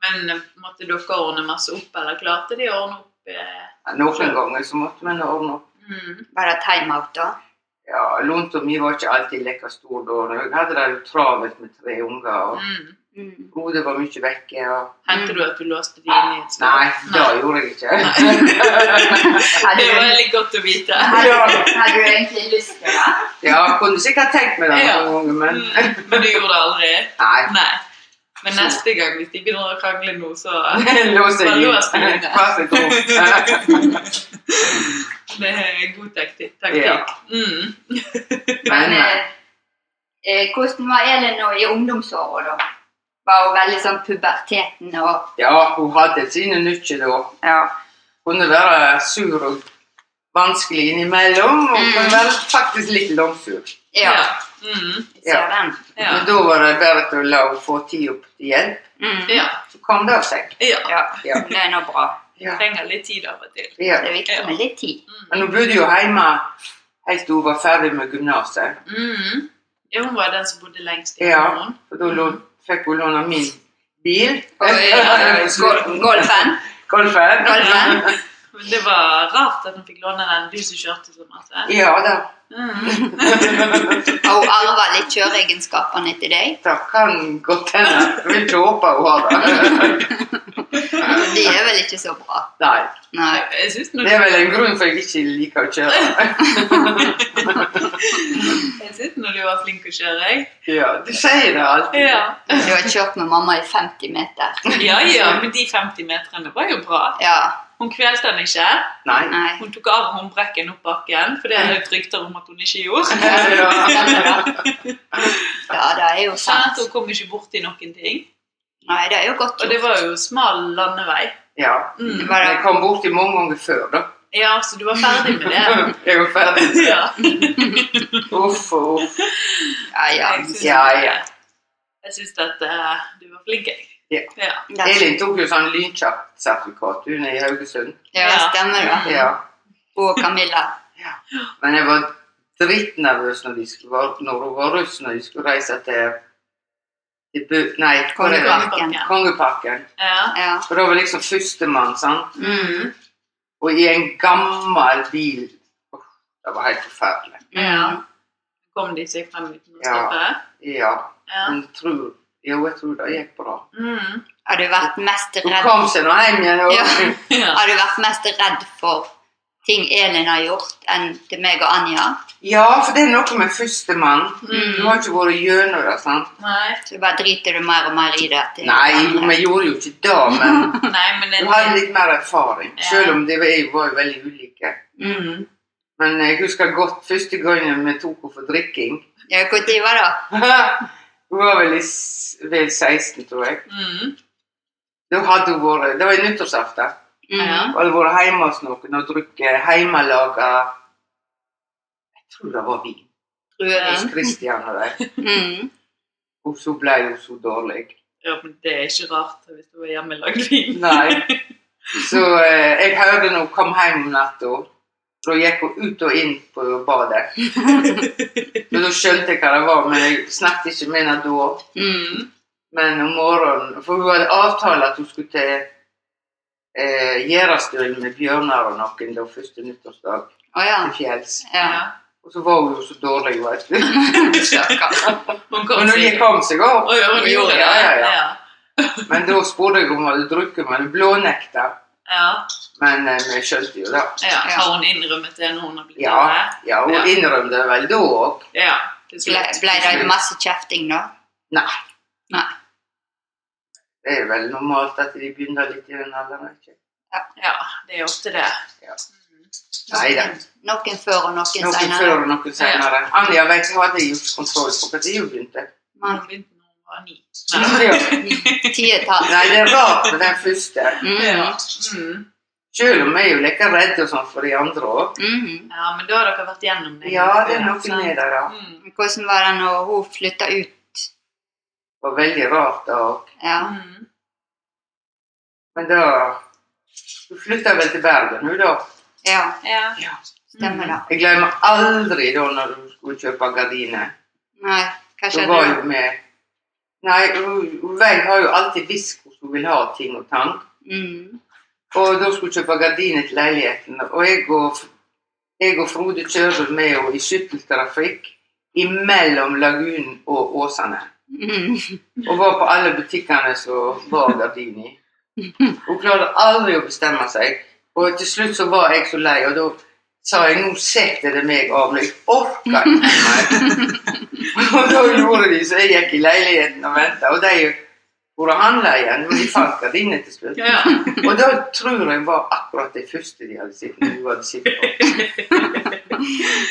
B: Men eh, måtte dere ordne masse opp, eller klarte de å ordne opp? Eh?
G: ja, noen ganger så måtte man ordne opp.
B: Mm.
A: Var det timeout, da?
G: Ja, Lunta mi var ikke alltid like stor da. Jeg hadde det jo travelt med tre unger, og
B: Mm.
A: Mm.
G: hodet var mye vekke. og...
B: Hendte du at du låste de inn i et skap?
G: Nei, det
B: Nei.
G: gjorde jeg ikke.
A: Hadde
B: Det var
A: du,
B: veldig godt å vite.
A: hadde du egentlig lyst til det?
G: Ja, jeg kunne sikkert tenkt meg det noen ganger, men
B: Mm. Men du gjorde det aldri?
G: nei.
B: Nei. Men neste gang, hvis de begynner å krangle nå, så
G: Lås deg
B: Bare lås deg
G: inn.
B: inne.
G: Pass deg på.
B: Det er god taktikk. taktikk.
G: Ja.
B: Mm.
A: Men
G: Men
A: eh, eh, hvordan var Elin nå i ungdomsåra, da? Var hun veldig sånn puberteten og
G: ja, hun hadde sine nykker da.
A: Ja.
G: kunne være sur og vanskelig innimellom, og
A: Mm.
G: kunne være faktisk litt langsur.
A: ja.
B: Mm.
A: jeg Ser den.
B: Ja.
G: Men da var det bedre til å la henne få tid opp til hjelp.
A: Mm.
B: ja.
G: Så kom det av seg.
B: Ja.
A: Ja.
G: Ja.
A: Det er nå bra.
G: Ja.
B: Trenger litt tid av og til. Mm.
G: Ja.
A: Det er viktig med litt tid.
G: Men hun bodde jo hjemme helt til hun var ferdig med gymnaset.
B: Mm. Ja, hun var den som bodde lengst i
G: Ja.
B: kommunen.
G: Og da lå- fikk hun låne min bil.
A: Og eh, gol- golfen.
G: Golfen.
A: Golfen.
B: Men det var rart at hun fikk låne den, du som kjørte eh? så masse.
G: Ja da,
B: Mm.
A: Og hun arva litt kjøreegenskapene etter deg.
G: det kan godt hende. Jeg vil ikke håpe hun har det.
A: Det Altså, er vel ikke så bra.
G: Nei.
A: Nei.
B: Jeg synes når
G: Det er vel en grunn for at jeg ikke liker å kjøre.
B: Jeg synes når du var flink å kjøre, jeg.
G: Ja, du sier det alltid.
B: Ja.
A: Du har kjørt med mamma i 50 meter.
B: ja, ja, men de 50 meterne var jo bra.
A: Ja.
B: Hun kvelte han ikke.
G: Nei.
A: Nei.
B: Hun tok av håndbrekken opp bakken, for det er det rykter om at hun ikke gjorde.
G: Ja.
A: Ja, det er jo
B: Sånn at
A: sant.
B: hun kom ikke borti noen ting.
A: Nei, det er jo godt
B: Og det
A: gjort.
B: var jo smal landevei.
G: ja.
B: Mm.
A: Var
G: Jeg
A: det-
G: kom borti mange ganger før, da.
B: Ja, så du var ferdig med det.
G: Jeg var ferdig.
B: Ja.
G: Uff og uff.
A: Ja, ja.
B: Jeg synes
G: Ja, ja.
B: Jeg syns at eh, du var flink, jeg.
G: Ja.
B: Ja.
G: Elin tok jo sånn lynkjapt sertifikat, hun er i Haugesund.
A: Ja,
B: Ja.
A: stemmer det.
G: Ja.
A: Og Camilla.
G: Men jeg var dritnervøs når, de skulle være- når hun var russ, når de skulle reise til, til Bu... Nei, hvor er det?
A: Kongeparken.
G: Kongeparken.
B: Ja.
A: Ja.
G: For da var liksom førstemann, sant.
A: Mm.
G: Og i en gammel bil Uff, Det var helt forferdelig.
A: Mm.
B: ja. Kom de seg frem uten å
G: Ja.
B: stoppe?
G: Ja.
B: Ja.
G: Men tror, jo, jeg tror det gikk bra.
B: Mm.
A: Har du vært mest
G: Hun
A: redd,
G: kom seg nå hjem igjen. og-
A: Ja.
B: ja.
A: har du vært mest redd for ting Elin har gjort, enn til meg og Anja?
G: Ja, for det er noe med førstemann. Du har ikke vært gjennom det, sant?
B: Nei.
A: Så bare driter du mer og mer i det? til-
G: Nei, jo, vi gjorde jo ikke det, men
B: Nei, men
G: Du
B: en,
G: hadde litt mer erfaring,
B: Ja.
G: selv om de var, var jo veldig ulike.
B: eh,
A: Mm.
G: Men jeg husker godt første gangen vi tok henne for drikking.
A: Ja, Hvor tid var det?
G: hun var vel, i, s- vel 16, tror jeg.
B: mm.
G: Da hadde hun vært, det var i nyttårsaften.
A: Mm.
B: Ja.
G: Hun hadde vært hjemme hos noen og drukket hjemmelaga Jeg tror det var vin. Hos
A: Druer.
G: Christian og de.
A: Mm.
G: Og så ble hun så dårlig.
B: ja, men det er ikke rart hvis du er hjemmelagd vin.
G: Nei. Så eh, jeg hørte når hun kom hjem om natta. Da gikk hun ut og inn på badet. Men da skjønte jeg hva det var, men jeg snakket ikke med henne da.
A: Mm.
G: Men om morgenen For hun hadde avtalt at hun skulle til eh, Gjerastølen med Bjørnar og noen da første nyttårsdag
A: Å ja.
G: til fjells.
A: ja.
G: Og så var hun jo så dårlig, vet du.
A: Stakkar.
B: Hun
G: Men
B: kom
G: når de
B: seg.
G: kom seg opp
B: Å ja, hun gjorde det.
G: Ja, ja, ja.
B: ja.
G: Men da spurte jeg om hun hadde drukket, men hun blånekta.
B: ja.
G: Men eh, vi skjønte jo det.
B: Ja, Har hun innrømmet det når hun har blitt
G: Ja,
B: hjemme?
G: ja hun
B: Ja.
G: innrømte det vel da òg.
B: Ja. til
A: Ble,
B: slutt.
A: ble det masse kjefting da?
G: Nei.
A: Nei.
G: Det er vel normalt at de begynner litt i den alderen. ikke?
B: Ja, det er ofte det.
G: Nei da.
A: Noen før og noen
G: Noen
A: senere.
G: før og noen senere. Anja vet ikke hadde jeg gjort kontroll på når hun begynte.
A: Nei.
B: Hun begynte når hun var ni.
G: Nei,
A: Tietall.
G: det er rart med den første.
A: Mm.
B: Mm.
G: Selv om vi er jo like redde og sånn for de andre òg.
A: Mm.
B: Ja, men da har dere vært gjennom det.
G: Ja, det er noe med det. da.
B: Mm.
A: Hvordan var det når hun flytta ut?
G: Det var veldig rart da òg.
A: Ja.
B: Mm.
G: Men da Hun flytta vel til Bergen, hun da.
A: ja,
B: Ja.
G: Ja.
A: stemmer det.
G: Jeg glemmer aldri da når hun skulle kjøpe gardiner.
A: Nei, hva
G: Hun
A: skjedde
G: Mm. var
A: da?
G: jo med Nei, hun- hun vet- har jo alltid visst hvordan hun vil ha ting og tang.
A: Mm.
G: Og da skulle hun kjøpe gardiner til leiligheten. Og jeg og, jeg og Frode kjører med henne i skytteltrafikk imellom Lagunen og Åsane.
A: Mm.
G: Og var på alle butikkene som var gardin i. Hun klarte aldri å bestemme seg. Og til slutt så var jeg så lei, og da sa jeg nå setter det meg av, men jeg orker ikke mer. og da gjorde de så jeg gikk i leiligheten og venta, og de for å handle igjen, men de fant gardinene til slutt.
B: Ja.
G: Og da tror jeg var akkurat det første de hadde sett når du hadde sett på.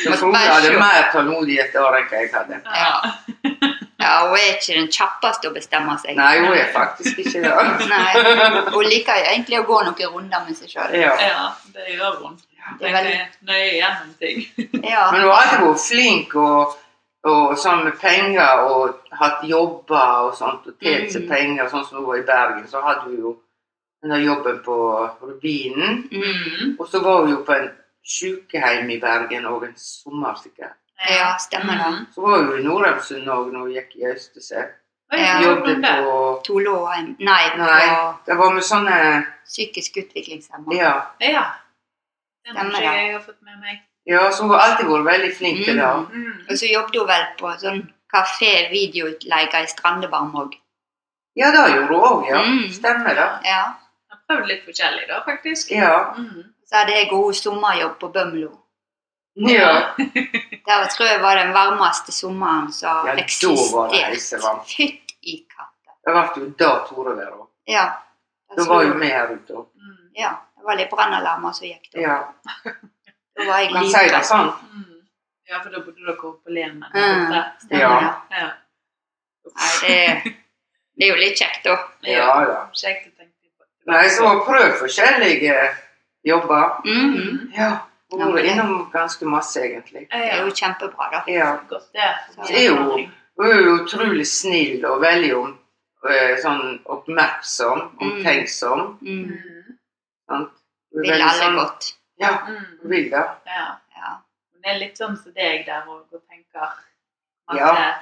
G: Så Frode hadde mer tålmodighet da enn hva jeg hadde.
A: Ja. ja, hun er ikke den kjappeste å bestemme seg.
G: Nei, hun er faktisk ikke det.
A: Nei. Hun liker jo egentlig å gå noen runder med seg sjøl.
G: Ja.
B: ja, det gjør hun.
A: Det
B: Hun
A: er veldig-
B: er nøye gjennom ting.
A: Ja.
G: Men hun har alltid vært flink og, og sånn med penger og hatt jobber og sånt og tjent seg
A: Mm.
G: penger, sånn som hun var i Bergen. Så hadde hun jo denne jobben på Rubinen.
B: Mm.
G: Og så var hun jo på en sykehjem i Bergen og en sommer sikkert.
A: ja, stemmer det.
B: Mm.
G: Så var hun i Nordheimsund òg når hun gikk i Øystese.
B: Oi,
A: Ja.
B: gjorde hun
G: Jobbet
B: det?
G: på
A: Tolåheim Nei,
G: Nei,
A: på
G: det var med sånne
A: psykisk utviklingshemma.
G: Ja,
B: Ja. Den
A: Stemmer
B: har
A: det.
B: ikke jeg har fått med meg.
G: ja så hun har alltid vært veldig flink til det.
B: Mm.
A: Og så jobbet hun vel på sånn kafé-videoutleie i Strandebarm òg.
G: Ja, det gjorde hun òg, ja.
A: Mm.
G: Stemmer det.
A: Ja.
B: Jeg har prøvd litt forskjellig da, faktisk.
G: Ja.
B: Mm.
A: Så hadde jeg god sommerjobb på Bømlo.
G: ja.
A: Der tror jeg var den varmeste sommeren som
G: Ja, da var det heisevarmt.
A: eksisterte. Fytt i katta.
G: Det ble jo da Tore var òg.
A: Ja.
G: Da var jo vi her ute òg.
B: Mm.
A: Ja, det var litt brannalarmer som gikk da.
G: Ja.
A: Da var jeg
G: Kan si det
A: livredd.
G: sånn.
B: Mm. Ja, for da bodde dere på Lemen.
A: Mm.
B: borte.
A: Stemmer
G: Ja.
A: det.
B: Ja.
A: Nei, det, det er jo litt kjekt da.
G: Ja da.
B: Kjekt å tenke på.
G: Nei, så hun har prøvd forskjellige jobber.
A: Mhm.
G: Ja. Hun har vært innom ganske masse, egentlig.
A: Det
B: Mm. Ja,
A: er
B: ja.
A: jo kjempebra da.
G: Ja.
B: Godt det.
G: Det er jo- Hun er jo utrolig snill og veldig om, eh, sånn oppmerksom, omtenksom.
A: Mm.
G: Sant? Hun er
A: Vil
G: veldig
A: alle
G: sånn-
A: godt.
G: Ja, hun
B: Mm.
G: vil det.
B: Ja.
A: Ja.
B: Men det er litt sånn som deg der og, og tenker masse
G: Ja.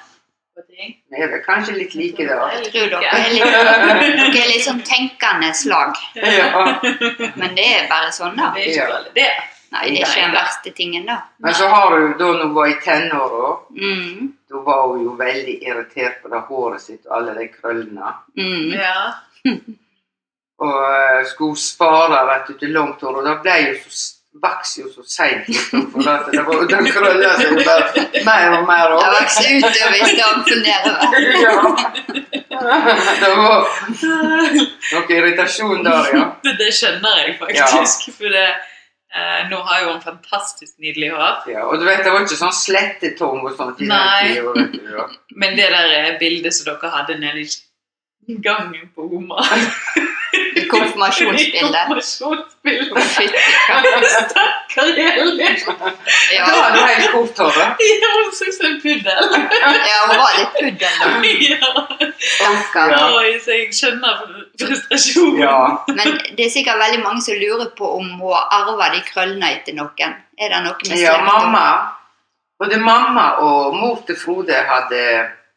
B: på ting.
G: Vi er vel kanskje litt like det
B: Jeg
G: òg.
A: Jeg tror dere er litt,
B: liker
A: dere er litt sånn tenkende slag.
G: Ja.
A: Men det er bare sånn, da.
B: Det er ikke så dårlig, det.
A: Nei, det er ikke den verste tingen, da.
G: Men så har hun da når hun var i tenåra
A: Mm.
G: Da var hun jo veldig irritert på det håret sitt og alle de krøllene.
A: Mm.
B: Ja.
G: Og eh, skulle hun spare vet du, til langt hår, og det ble jo så s- vaks jo så seint. liksom, For at det var jo den krølla som hun bare mer og mer
A: Det
G: over.
A: vokser utover istedenfor nedover.
G: Ja. Det var noe irritasjon der, ja.
B: Det, det skjønner jeg faktisk. For det, eh, nå har jo hun fantastisk nydelig hår.
G: ja. Og du vet, det var ikke sånn slettetong og sånt. i den
B: Nei.
G: tiden, vet du, ja.
B: Men det der eh, bildet som dere hadde nede i gangen på Oma
A: I konfirmasjonsbildet.
B: Konfirmasjonsbildet.
A: Fytti
B: Stakkar Elin!
G: Da
A: Ja,
G: hadde hun helt kort hår. da.
B: Ja, Hun så ut som en puddel.
A: ja, hun var litt puddel, da.
B: Ja.
A: Stakkar.
G: Ja.
B: Oi, så jeg skjønner frustrasjonen.
G: Ja.
A: Men det er sikkert veldig mange som lurer på om hun arver de krøllene etter noen. Er det noe med
G: Ja,
A: slekt?
G: mamma. Både mamma og mor til Frode hadde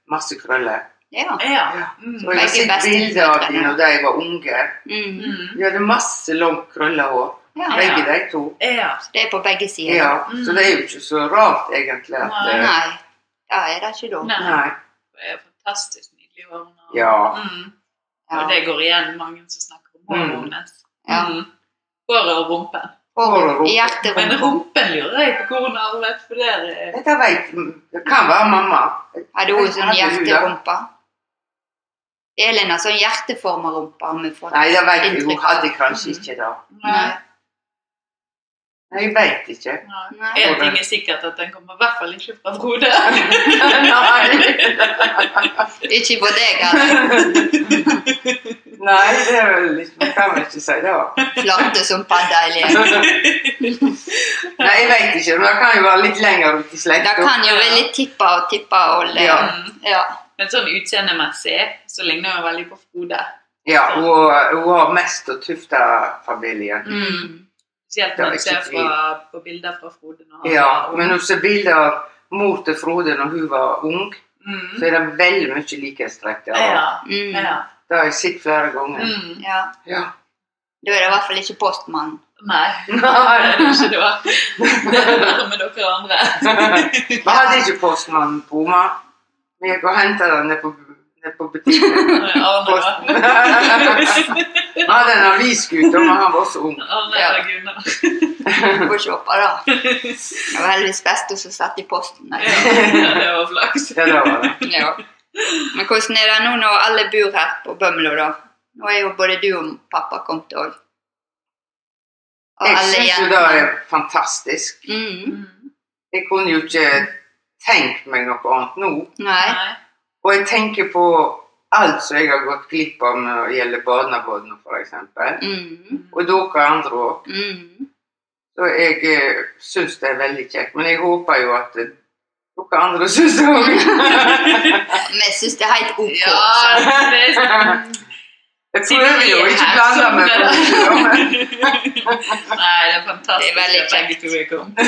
G: masse krøller.
A: Ja.
B: Ja.
G: Ja.
B: Mm.
G: Og jeg har
A: Begge
G: sett bilder av dem
A: besteforeldrene.
G: når de var unge.
A: Mm.
B: Mm.
G: De hadde masse langt krølla hår,
A: ja.
G: begge de to.
B: Ja.
A: Det er på begge sider.
G: Ja,
B: Mm.
G: Så det er jo ikke så rart, egentlig. At,
B: Nei.
G: eh,
A: Nei, da er det ikke da.
B: Nei.
G: nei.
B: Det er fantastisk nydelig hår. hun har.
G: Ja.
B: Mm. Og
A: Ja.
B: det går igjen mange som snakker om håret
G: Mm.
B: hennes.
A: Ja.
B: Mm. Håret og rumpen.
A: Hår i
B: Men
A: hjerterommet.
B: rumpen lurer jeg på hvor hun har arvet, for der er
G: Dette vet Det kan være mamma.
A: Hadde hun sånn
G: Hadde hun, ja.
A: hjerterumpe? Elin har sånn hjerteforma rumpe. har vi fått.
G: Nei, det vet jeg. Hun
A: Inntrykk.
G: hadde kanskje ikke det.
A: Nei.
G: Nei, jeg vet ikke.
B: Nei.
A: Nei.
B: En ting er sikkert at den kommer i hvert fall ikke fra Frode.
G: Nei.
A: Ikke på deg heller.
G: Nei, det er vel liksom, kan man ikke si det.
A: Flate som padda, Elin.
G: Nei, jeg vet ikke. Men det kan jo være litt lenger ut i
A: Det
G: slekta.
A: kan jo være litt tippa og tippa og le.
G: Ja.
B: Mm.
A: Ja.
B: Men sånn utseendemessig så ligner hun veldig på Frode.
G: Ja, hun, hun har mest å tufte familien.
A: Mm.
B: Spesielt
G: Det er
B: når du
G: ikke
B: ser
G: tvil.
B: fra, på bilder fra Frode. Når han
G: Ja,
B: var ung.
G: men hun ser bilder av mor til Frode når hun var ung, så
B: mm.
G: er det veldig mye likhetstrekk der.
B: Ja.
A: Mm.
B: ja.
G: Det har jeg sett flere ganger.
B: Mm.
A: ja.
G: Ja.
A: Da er det i hvert fall ikke postmannen.
B: Nei, det
G: Nei.
B: er det ikke da. Det er verre med dere andre.
G: Vi hadde ikke postmann på Oma. Vi gikk og henta den nede på, ned på butikken.
B: Arne, da.
G: Posten. Vi hadde en avisskuter, men han var så ung.
B: Arne
A: Ja.
B: eller Gunnar.
A: Du får ikke oppe, da. Det var heldigvis best å satt i posten. Nei.
B: Ja, det var flaks.
G: Ja, det var det.
A: Ja. Men hvordan er det nå når alle bor her på Bømlo, da? Nå er jo både du og pappa kommet òg. Og
G: Jeg
A: alle
G: syns jo det
A: jentene.
G: er fantastisk.
A: Mm.
G: Jeg kunne jo ikke tenkt meg noe annet nå.
A: Nei.
B: Nei.
G: Og jeg tenker på alt som jeg har gått glipp av når det gjelder barnebarna, f.eks.
A: Mm.
G: Og dere andre òg.
A: Mm.
G: Så jeg eh, syns det er veldig kjekt. Men jeg håper jo at eh, dere andre syns det òg.
A: Vi syns det er helt OK.
B: Ja,
A: så.
B: det er
G: Jeg prøver jo å ikke blande meg på det.
B: Nei, det er fantastisk.
A: Det er veldig
B: at begge to er kommet.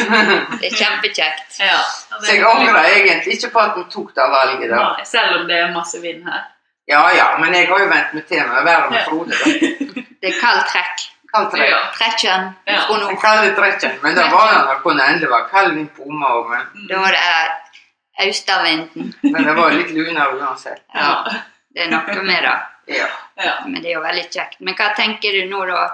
A: Det er kjempekjekt.
B: Ja.
G: Så jeg angrer egentlig ikke på at vi tok det valget da.
B: Nei, Selv om det er masse vind her.
G: Ja ja, men jeg har jo vent meg til med å være med Frode. da.
B: Mm.
A: Det er kaldt trekk.
G: Kaldt regn.
B: Ja.
A: Trekken
B: Ja.
A: fra
G: Den
A: nord.
G: kalde trekken, men det var den kunne endelig være kald inn på Oma òg, men,
A: Da er det austavinden.
G: men det var litt lunere uansett.
A: Ja, det er noe med det.
G: Ja.
B: Ja.
A: Men det er jo veldig kjekt. Men hva tenker du nå, da?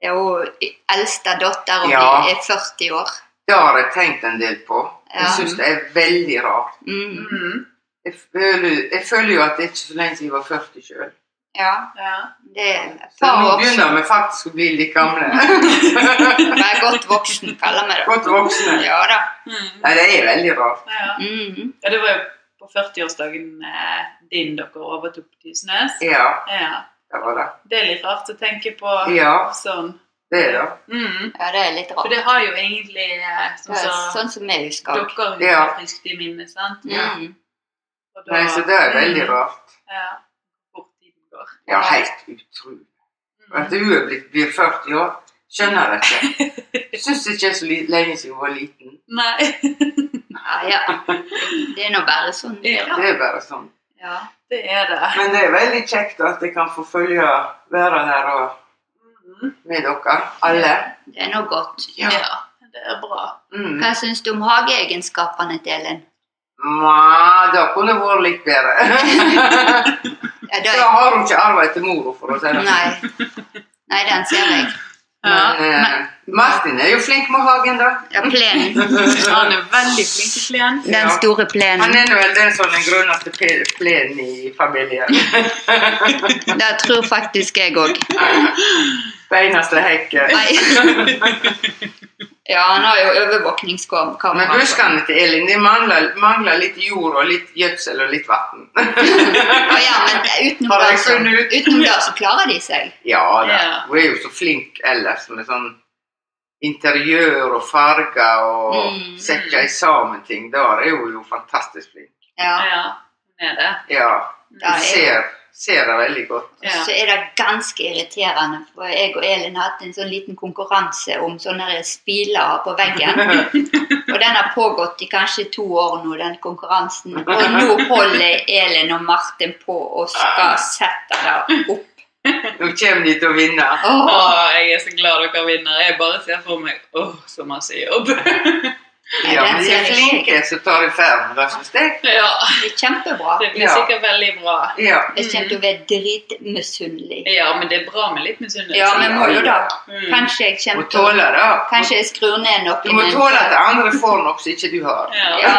A: Er hun eldste datter og
G: Ja.
A: blir- er 40 år?
G: Det har jeg tenkt en del på. Jeg
A: Ja.
G: syns det er veldig rart.
A: Mm.
B: Mm.
G: Jeg føler, jeg føler jo at det er ikke så lenge siden jeg var 40 sjøl.
A: Ja,
B: Ja.
A: det er et
G: Så
A: par
G: nå
A: år siden.
G: begynner vi faktisk å bli litt gamle.
A: Vær godt voksen, kaller vi det.
G: Godt voksne.
A: Ja da.
B: Mm.
G: Nei, det er veldig rart.
B: Ja.
A: Mm.
B: ja, det var jo på 40-årsdagen eh, din dere overtok Tysnes.
G: Ja,
B: Ja.
G: det var det.
B: Det er litt rart å tenke på
G: Ja,
B: sånn.
G: det er det.
B: Mm.
A: Ja, det er litt
B: For
A: rart.
B: det har jo egentlig eh,
A: Det
B: sånn
A: er
B: som
A: sånn som vi husker.
B: dere har
G: Ja.
B: friskt i minne, sant?
A: Mm.
B: Og da-
G: Nei, så det er veldig rart.
B: Ja. Hvor tiden går. Mm.
G: Ja, helt utrolig. At hun er blitt blir 40 år, skjønner jeg ikke. Syns ikke det er så li- lenge siden hun var liten.
B: Nei.
A: Ja, ja. Det er nå bare sånn. det er.
B: Ja,
G: Det er bare sånn.
A: Ja.
B: det er det.
G: Men det er veldig kjekt at jeg kan få følge være her og med dere alle.
A: Det er nå godt.
G: Ja.
B: Ja, det er bra.
G: Mm.
A: Hva syns du om hageegenskapene til Ellen?
G: Ma, det kunne vært litt bedre.
A: Ja, det
G: Da
A: er...
G: har hun ikke arvet etter mora, for å si det sånn.
A: Nei. Nei, den ser jeg.
B: Ja,
G: Men eh, Martin er jo flink med hagen, da.
A: Ja, plenen.
B: Han er veldig flink til plen.
A: Den store
G: Han
A: plenen.
G: er nå sånn vel den som er den grønneste pe- plenen i familien.
A: Det tror faktisk jeg òg.
G: Beineste hekken.
A: Ja, han har jo overvåkningskamera.
G: Men buskene til Elin de mangler, mangler litt jord og litt gjødsel og litt vann.
A: Ja, ja, men utenom
G: Har jeg
A: det, så,
G: funnet ut?
A: utenom det så klarer de seg.
G: Ja da.
B: Ja.
G: Hun er jo så flink ellers med sånn interiør og farger og
A: Mm.
G: setter sammen ting. Der er hun jo fantastisk flink.
A: Ja.
B: Ja, han er det. Mm.
G: Ja.
A: Ja,
G: Hun
A: jeg-
G: ser, ser det veldig godt.
B: Ja.
A: Så er det ganske irriterende, for jeg og Elin hadde en sånn liten konkurranse om sånne her spiler på veggen. Og den har pågått i kanskje to år nå, den konkurransen. Og nå holder Elin og Martin på og skal sette det opp.
G: Nå kommer de til å vinne.
B: Å,
A: Åh,
B: jeg er så glad dere vinner. Jeg bare ser for meg åh, så masse jobb.
A: nei,
G: Ja,
A: den
G: men de
A: ser jeg
G: er
A: ikke.
G: flinke som tar i ferden, det syns jeg.
B: ja,
A: Det er kjempebra.
B: det blir
G: Ja.
B: sikkert veldig bra.
G: Ja.
A: Jeg kommer til å være dritmisunnelig.
B: Ja, men det er bra med litt misunnelse.
A: Ja, men må jo da.
B: Mm.
A: Kanskje jeg
G: Må
A: kommer til å
G: tåle det.
A: Kanskje jeg skrur ned noen
G: Du må tåle at andre får noe som ikke du har.
B: Ja.
A: Ja.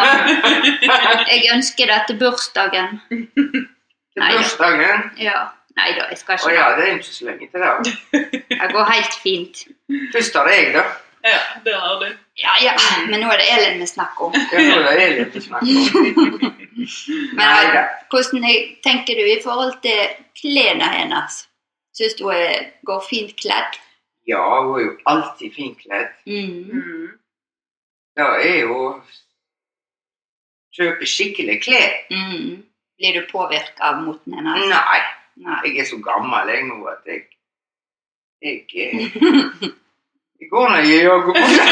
A: Jeg ønsker det til bursdagen.
G: Til bursdagen.
A: Ja. Nei da, jeg skal
G: Å
A: ikke
G: ja,
A: det.
G: det er ikke så lenge til det.
A: Det går helt fint.
G: Først har jeg, da.
B: ja, det har du.
A: Ja, ja. Men nå er det Elin vi snakker om.
G: Ja, nå er det jeg litt å snakke om.
A: Men
G: Neida.
A: hvordan jeg- tenker du i forhold til klærne hennes? Syns du hun er- går fint kledd?
G: Ja, hun er jo alltid finkledd.
A: Mm.
B: Mm.
G: Det er jo Kjøpe skikkelig klær.
A: Mm. Blir du påvirka av moten hennes?
G: Nei,
A: Nei.
G: jeg er så gammel jeg nå at jeg Jeg, eh, jeg går nå i joggebukse.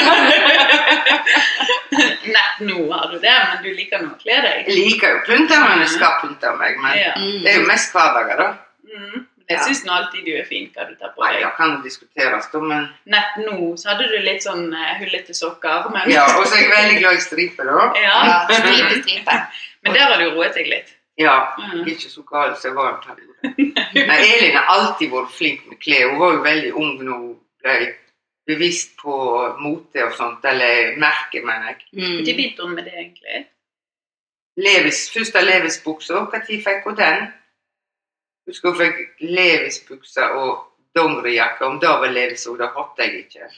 B: Nett nå har du det, men du liker nå å kle deg.
G: Jeg liker jo pynta meg når jeg skal pynte meg, men
B: Ja.
A: Mm.
G: det er jo mest hverdager, da.
B: Mm. Jeg syns nå alltid du er fin hva du tar på
G: Nei,
B: deg.
G: det kan jo diskuteres, da, men
B: Nett nå så hadde du litt sånn eh, hullete sokker, men,
G: Ja, og så er jeg veldig glad i striper, da.
B: ja.
A: Ja, stripe, stripe.
B: men der har du roet deg litt.
G: Ja.
B: Mm.
G: Jeg er ikke så gal som jeg var en periode. Nei, Elin har alltid vært flink med klær. Hun var jo veldig ung når hun ble bevisst på mote og sånt, eller merke, mener jeg.
B: Ikke
A: Mm.
B: begynt om med det, egentlig.
G: Levis, første Levis-buksa, når fikk hun den? Husker hun fikk Levis-buksa og dongerijakke. Om det var Levis, og det hadde jeg ikke.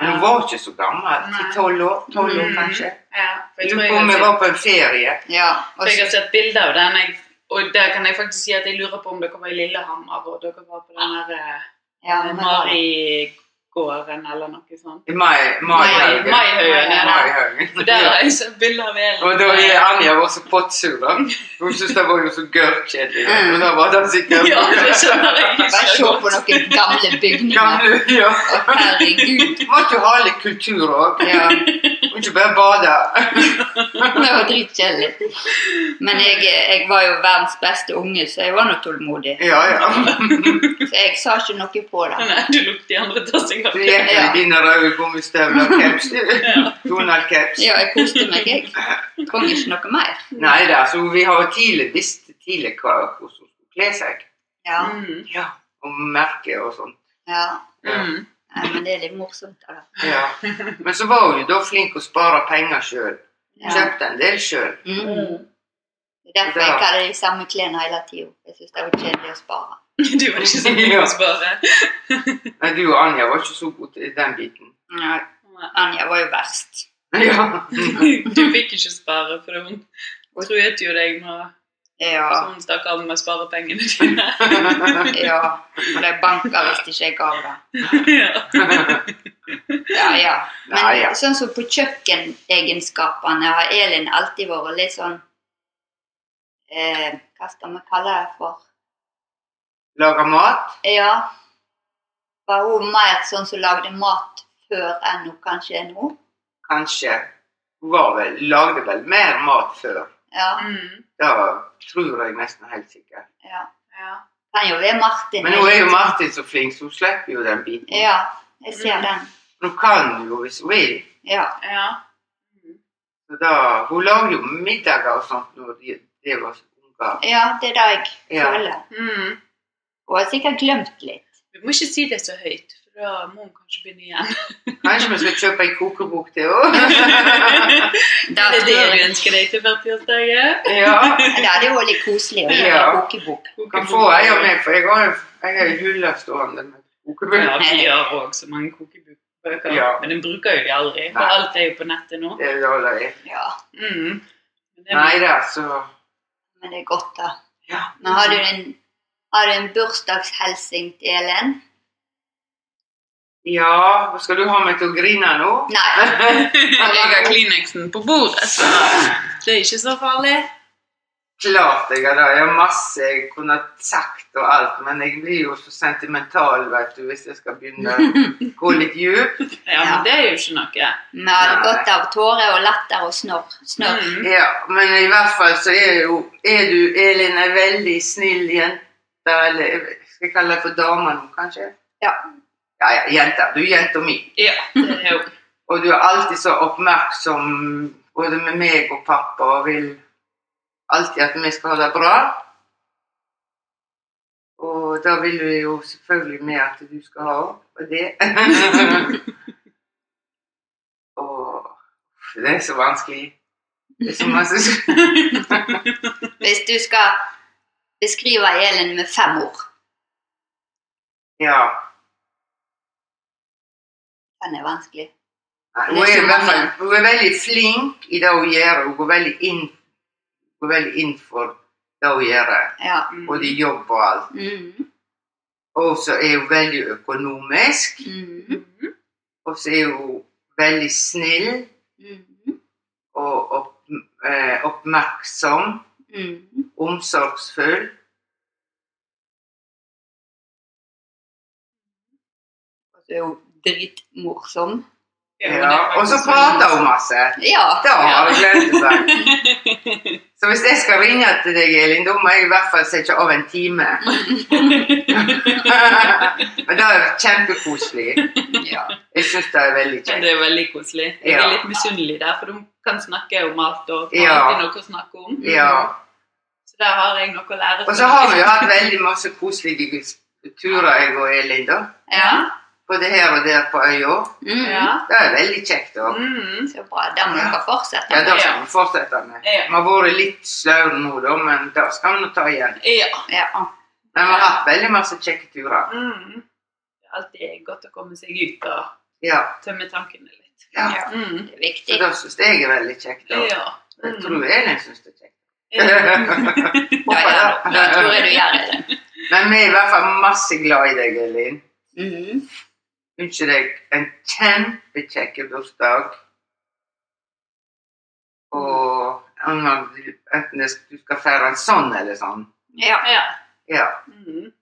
G: Men hun var ikke så gammel.
B: Nei.
G: 10-12 år, 12 år
B: Mm.
G: kanskje.
B: Ja, for jeg
G: Jeg
B: tror
G: lurer
B: jeg
G: på om
B: har
G: jeg
B: sett-
G: var på en ferie.
A: Ja. Og
B: for jeg har sett bilder av den, jeg, og der kan jeg faktisk si at jeg lurer på om dere var i Lillehammer, og dere var på den der eh,
A: ja, men-
B: Marigården eller noe sånt.
G: I mai,
B: Mai-
G: Maihaugen.
B: Maihaugen, ja. For der
G: Maihaugen.
B: har jeg sett bilder av Elin.
G: Og da er Anja var så pottsur, da. Hun syntes det var jo så gørrkjedelig. Og da var det altså sikkert
B: Mm. Ja, det skjønner jeg ikke.
A: Bare se på noen gamle bygninger.
G: Gamle, ja.
A: Herregud.
G: Må ikke ha litt kultur òg.
A: Ja.
G: Må ikke bare bade.
A: Det var dritkjedelig. Men jeg, eh, jeg var jo verdens beste unge, så jeg var nå tålmodig.
G: Ja, ja.
A: Så jeg sa ikke noe på det.
B: Nei, du lot de andre ta seg av
G: Du
B: det.
G: gikk med dine røde gummistøvler og caps. du. Donald-caps.
A: Ja, jeg koste meg, jeg. Kom ikke noe mer.
G: Nei da, så vi har jo tidlig visst tidlig hva hvordan hun skulle kle seg.
A: Ja.
B: Mm.
G: Ja. Og merke og sånn.
A: ja.
G: Ja.
B: Mm.
A: Nei, men det er litt morsomt. da, da.
G: Ja. Men så var hun jo da flink å spare penger sjøl.
A: Ja.
G: Kjøpte en del sjøl.
A: Mm. Det er derfor jeg hadde de samme klærne hele tida. Jeg syns det var kjedelig å spare.
B: Du var ikke så god å spare.
G: Nei, du og Anja var ikke så gode til den biten.
A: Nei, Anja var jo verst.
G: Ja.
B: Du fikk ikke spare, for hun truet jo deg med så
A: Ja.
B: hun stakk av med sparepengene dine.
A: ja. Og de banka hvis ikke jeg gav det.
B: Ja.
A: Ja, ja. Men
G: Ja, ja.
A: sånn som på kjøkkenegenskapene har Elin alltid vært litt sånn eh, Hva skal vi kalle det for?
G: Lager mat.
A: Ja. Var hun mer sånn som lagde mat før enn hun kanskje er nå?
G: Kanskje. Hun var vel, lagde vel mer mat før.
A: Ja.
B: Mm,
G: Det tror jeg nesten helt sikkert.
A: ja.
B: ja.
A: Kan jo være Martin.
G: Men nå er jo Martin så flink, så hun slipper jo den biten.
A: Ja, jeg
B: Mm.
A: ser den.
G: Hun kan jo hvis hun vil.
A: Ja.
B: ja.
G: Så da, hun lager jo middager og sånt når de, de var unger.
A: ja, det er det jeg
G: Ja.
A: føler.
B: Mm.
A: Hun har sikkert glemt litt.
B: Vi må ikke si det så høyt, for da må hun kanskje begynne igjen.
G: Kanskje vi skal kjøpe ei kokebok til henne?
B: det er det du ønsker deg til 40-årsdagen?
G: ja.
A: Det hadde jo vært litt koselig å gjøre
G: Ja.
A: kokebok.
G: Kan få ei av meg, for jeg har jo- jeg har jo hylla stående med
B: Ja,
G: kokebøker.
B: vi har òg så mange kokebøker,
G: Ja.
B: men den bruker jo de aldri. For
G: Nei.
B: alt er jo på nettet nå.
G: Det er jo alle jeg-
A: Ja,
B: Mm. Men det-
G: Nei da, så
A: men det er godt, da.
G: Ja.
A: Men har du en, har du en bursdagshelsing til Elen?
G: Ja, skal du ha meg til å grine nå?
A: Nei.
B: Jeg legger Kleenexen på bordet, så det er ikke så farlig.
G: Klart jeg har det. Jeg har masse jeg kunne ha sagt og alt, men jeg blir jo så sentimental, vet du, hvis jeg skal begynne å gå litt djupt.
B: Ja, men det er jo ikke noe.
A: Vi hadde
G: Nei.
A: godt av tårer og latter og snorr. Snørr.
B: Mm.
G: Ja, men i hvert fall så er jo Er du, Elin, ei veldig snill jente, eller jeg skal jeg kalle deg for dame nå, kanskje?
A: Ja.
G: Ja, ja, jenta. Du er jenta mi.
B: Ja, det er jo.
G: Og du er alltid så oppmerksom både med meg og pappa og vil alltid at vi skal ha det bra. Og da vil vi jo selvfølgelig med at du skal ha opp og det. og det er så vanskelig. Det er så masse
A: Hvis du skal beskrive Elin med fem ord,
G: Ja.
A: den er vanskelig.
G: Nei, Hun er, i hvert fall, hun er veldig flink i det hun gjør. Hun går veldig inn, går veldig inn for det hun gjør,
A: Ja.
G: både jobb og alt.
A: Mm.
G: Og så er hun veldig økonomisk.
A: Mm.
G: Og så er hun veldig snill
A: Mm.
G: og opp, eh, oppmerksom.
A: Mm.
G: Omsorgsfull.
A: Og så er Altså, hun dritmorsom.
G: Ja. Og så prater hun masse.
A: Ja.
G: Da har jeg glemt det. sant? Så hvis jeg skal ringe til deg, Elin, da må jeg i hvert fall sette av en time. Men det er kjempekoselig.
A: ja.
G: Jeg syns det er veldig
B: Men
G: kjekt.
B: det er veldig koselig. Jeg
G: Ja.
B: er litt misunnelig der, for hun kan snakke om alt og har
G: Ja.
B: alltid noe å snakke om.
G: Ja.
B: Så der har jeg noe å lære.
G: Og så har vi jo hatt veldig masse koselige turer, jeg og Elin, da.
B: Ja.
G: Både her og der på øya.
A: Mm.
B: ja.
G: Det er veldig kjekt. da.
B: Mm.
A: Så bra. Det må dere fortsette
G: Ja,
A: med.
G: det skal vi fortsette med. Vi
B: Ja.
G: har vært litt slaue nå, da, men det skal vi nå ta igjen.
B: ja.
A: Ja.
G: Men vi har hatt veldig masse kjekke turer.
B: Mm. Det er alltid godt å komme seg ut og
G: Ja.
B: tømme tankene litt.
G: ja.
A: Ja.
B: Mm.
A: Det er
G: Så
A: viktig.
G: det syns jeg er veldig kjekt. da.
B: Ja.
G: Jeg tror Elin syns det er kjekt.
A: Ja, ja. Det tror jeg du gjør, Elin.
G: Men vi er i hvert fall masse glad i deg, Elin.
A: Mm.
G: Ønsker deg en kjempekjekk bursdag. Og om man- enten det- du skal feire en sånn eller sånn.
A: Ja.
B: Ja.
G: Ja.
B: Mm.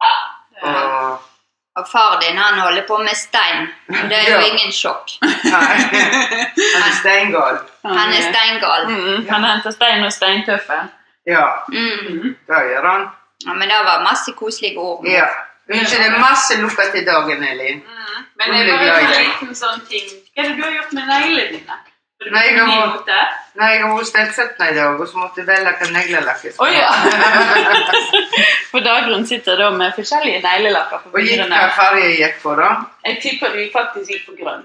B: Ja.
G: Og
A: Og far din han holder på med stein. Det er jo
G: Ja.
A: ingen sjokk.
G: Nei. Han er steingal.
A: Han er steingal.
B: Mm, han henter stein og steintøffen.
G: Ja,
A: Mm.
G: det gjør han.
A: Ja, men det var masse koselige ord.
G: Ja. Ønsker deg masse lykke til dagen, Elin.
B: Mm. Men
G: Hun
B: jeg
G: blir
B: bare
G: glad i
B: en
G: deg.
B: liten sånn ting. Hva er det du har gjort med neglene dine? Har du
G: Nei, jeg
B: brukt ny
G: har-
B: mote?
G: Nei, jeg har stelt føttene i dag, og så måtte jeg velge hva neglelakk jeg
B: Å
G: skulle
B: ja!
G: ha.
B: For Dagrun sitter da med forskjellige neglelapper på
G: Og gikk
B: fingrene.
G: hva farge jeg gikk for, da?
B: Jeg tipper hun faktisk gikk for grønn.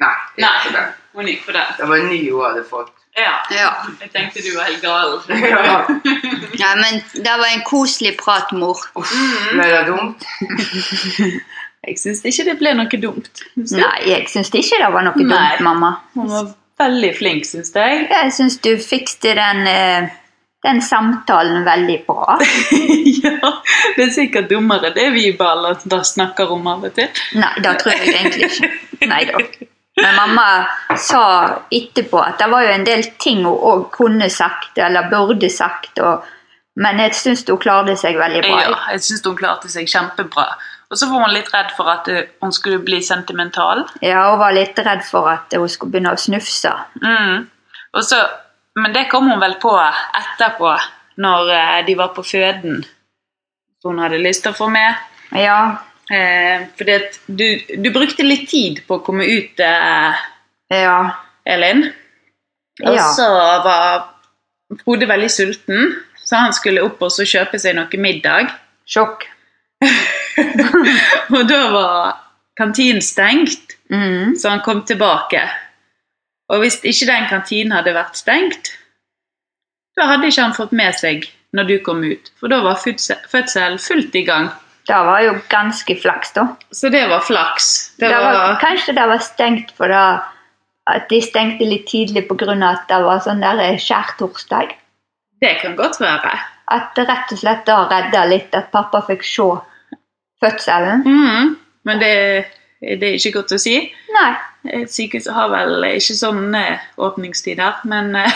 G: Nei. jeg gikk for
B: Nei,
G: det.
B: hun gikk for den.
G: Det var en ny hun hadde fått.
B: Ja.
A: Ja.
B: Jeg tenkte du var helt gal.
G: Ja.
A: Nei, men det var en koselig prat, mor.
G: Ble det dumt?
B: Jeg syns ikke det ble noe dumt.
H: Nei, jeg syns ikke det var noe
B: Nei.
H: dumt, mamma.
B: Hun var veldig flink, syns jeg.
H: Jeg syns du fikste den, eh, den samtalen veldig bra.
B: ja, det er sikkert dummere det vi i Balland da snakker om av og til.
H: Nei, det tror jeg egentlig ikke. Nei da.
A: Men mamma sa etterpå at det var jo en del ting hun òg kunne sagt eller burde sagt. Og, men jeg syns hun klarte seg veldig bra.
B: Ja, jeg syns hun klarte seg kjempebra. Og så var hun litt redd for at eh, hun skulle bli sentimental.
A: Ja, Hun var litt redd for at hun skulle begynne å snufse.
B: Mm. Og så, men det kom hun vel på etterpå, når eh, de var på føden. Hun hadde lyst til å få med.
A: Ja,
B: Eh, fordi at du, du brukte litt tid på å komme ut, eh,
A: ja,
B: Elin. Og
A: Ja.
B: så var Frode veldig sulten, så han skulle opp og så kjøpe seg noe middag.
A: sjokk.
B: Og da var kantinen stengt,
A: Mm.
B: så han kom tilbake. Og hvis ikke den kantinen hadde vært stengt, da hadde ikke han fått med seg når du kom ut, for da var fødsel, fødsel fullt i gang.
A: Det var jo ganske flaks, da.
B: Så det var flaks.
A: Det var, kanskje det var stengt for det, at de stengte litt tidlig pga. at det var sånn der skjærtorsdag.
B: det kan godt være.
A: At det rett og slett da redda litt at pappa fikk se fødselen.
B: Mhm, men det, det er ikke godt å si.
A: Nei,
B: Eh, Sykehuset har vel ikke sånn, sånne åpningstider, men eh,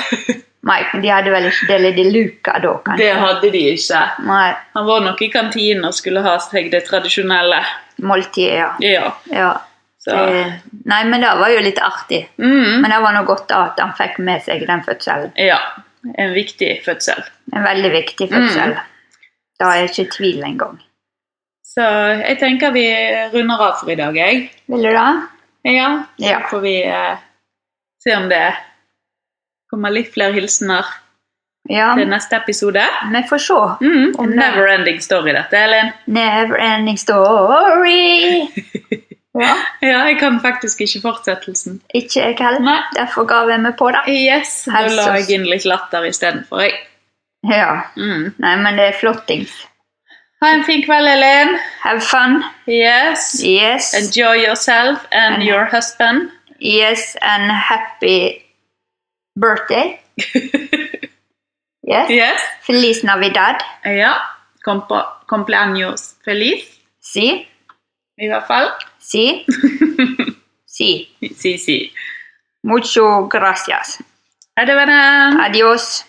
A: Mike, de hadde vel ikke del i de luka da, kanskje?
B: det hadde de ikke.
A: Nei,
B: Han var nok i kantinen og skulle ha seg det tradisjonelle.
A: måltidet, ja.
B: Ja,
A: ja.
B: så.
A: Det- Nei, men det var jo litt artig.
B: Mhm,
A: Men det var nå godt da at han fikk med seg den fødselen.
B: ja, en viktig fødsel.
A: En veldig viktig fødsel. Da er jeg ikke i tvil engang.
B: Så jeg tenker vi runder av for i dag, jeg.
A: Vil du det?
B: Ja, så
A: Ja.
B: får vi eh, se om det kommer litt flere hilsener
A: Ja,
B: til neste episode.
A: vi får se.
B: Mhm,
A: Om det-
B: never ending story dette, Elin.
A: Never ending story. Ja,
B: Ja, jeg kan faktisk ikke fortsettelsen.
A: ikke jeg heller. Derfor ga vi meg på det.
B: Yes, da
A: Helse.
B: la jeg inn litt latter istedenfor, jeg.
A: Ja,
B: Mm.
A: nei, men det er flottings.
B: Ha en fin kveld, Elin.
A: Have fun.
B: Yes.
A: Yes.
B: Enjoy yourself and
A: And-
B: your husband.
A: Yes, and happy birthday. Yes.
B: Yes.
A: Feliz Navidad.
B: Ja. Compa- Compleaños feliz,
A: Si,
B: i hvert fall.
A: si, si.
B: Si, si.
A: Mucho gracias.
B: Ha det, venner.
A: Adios.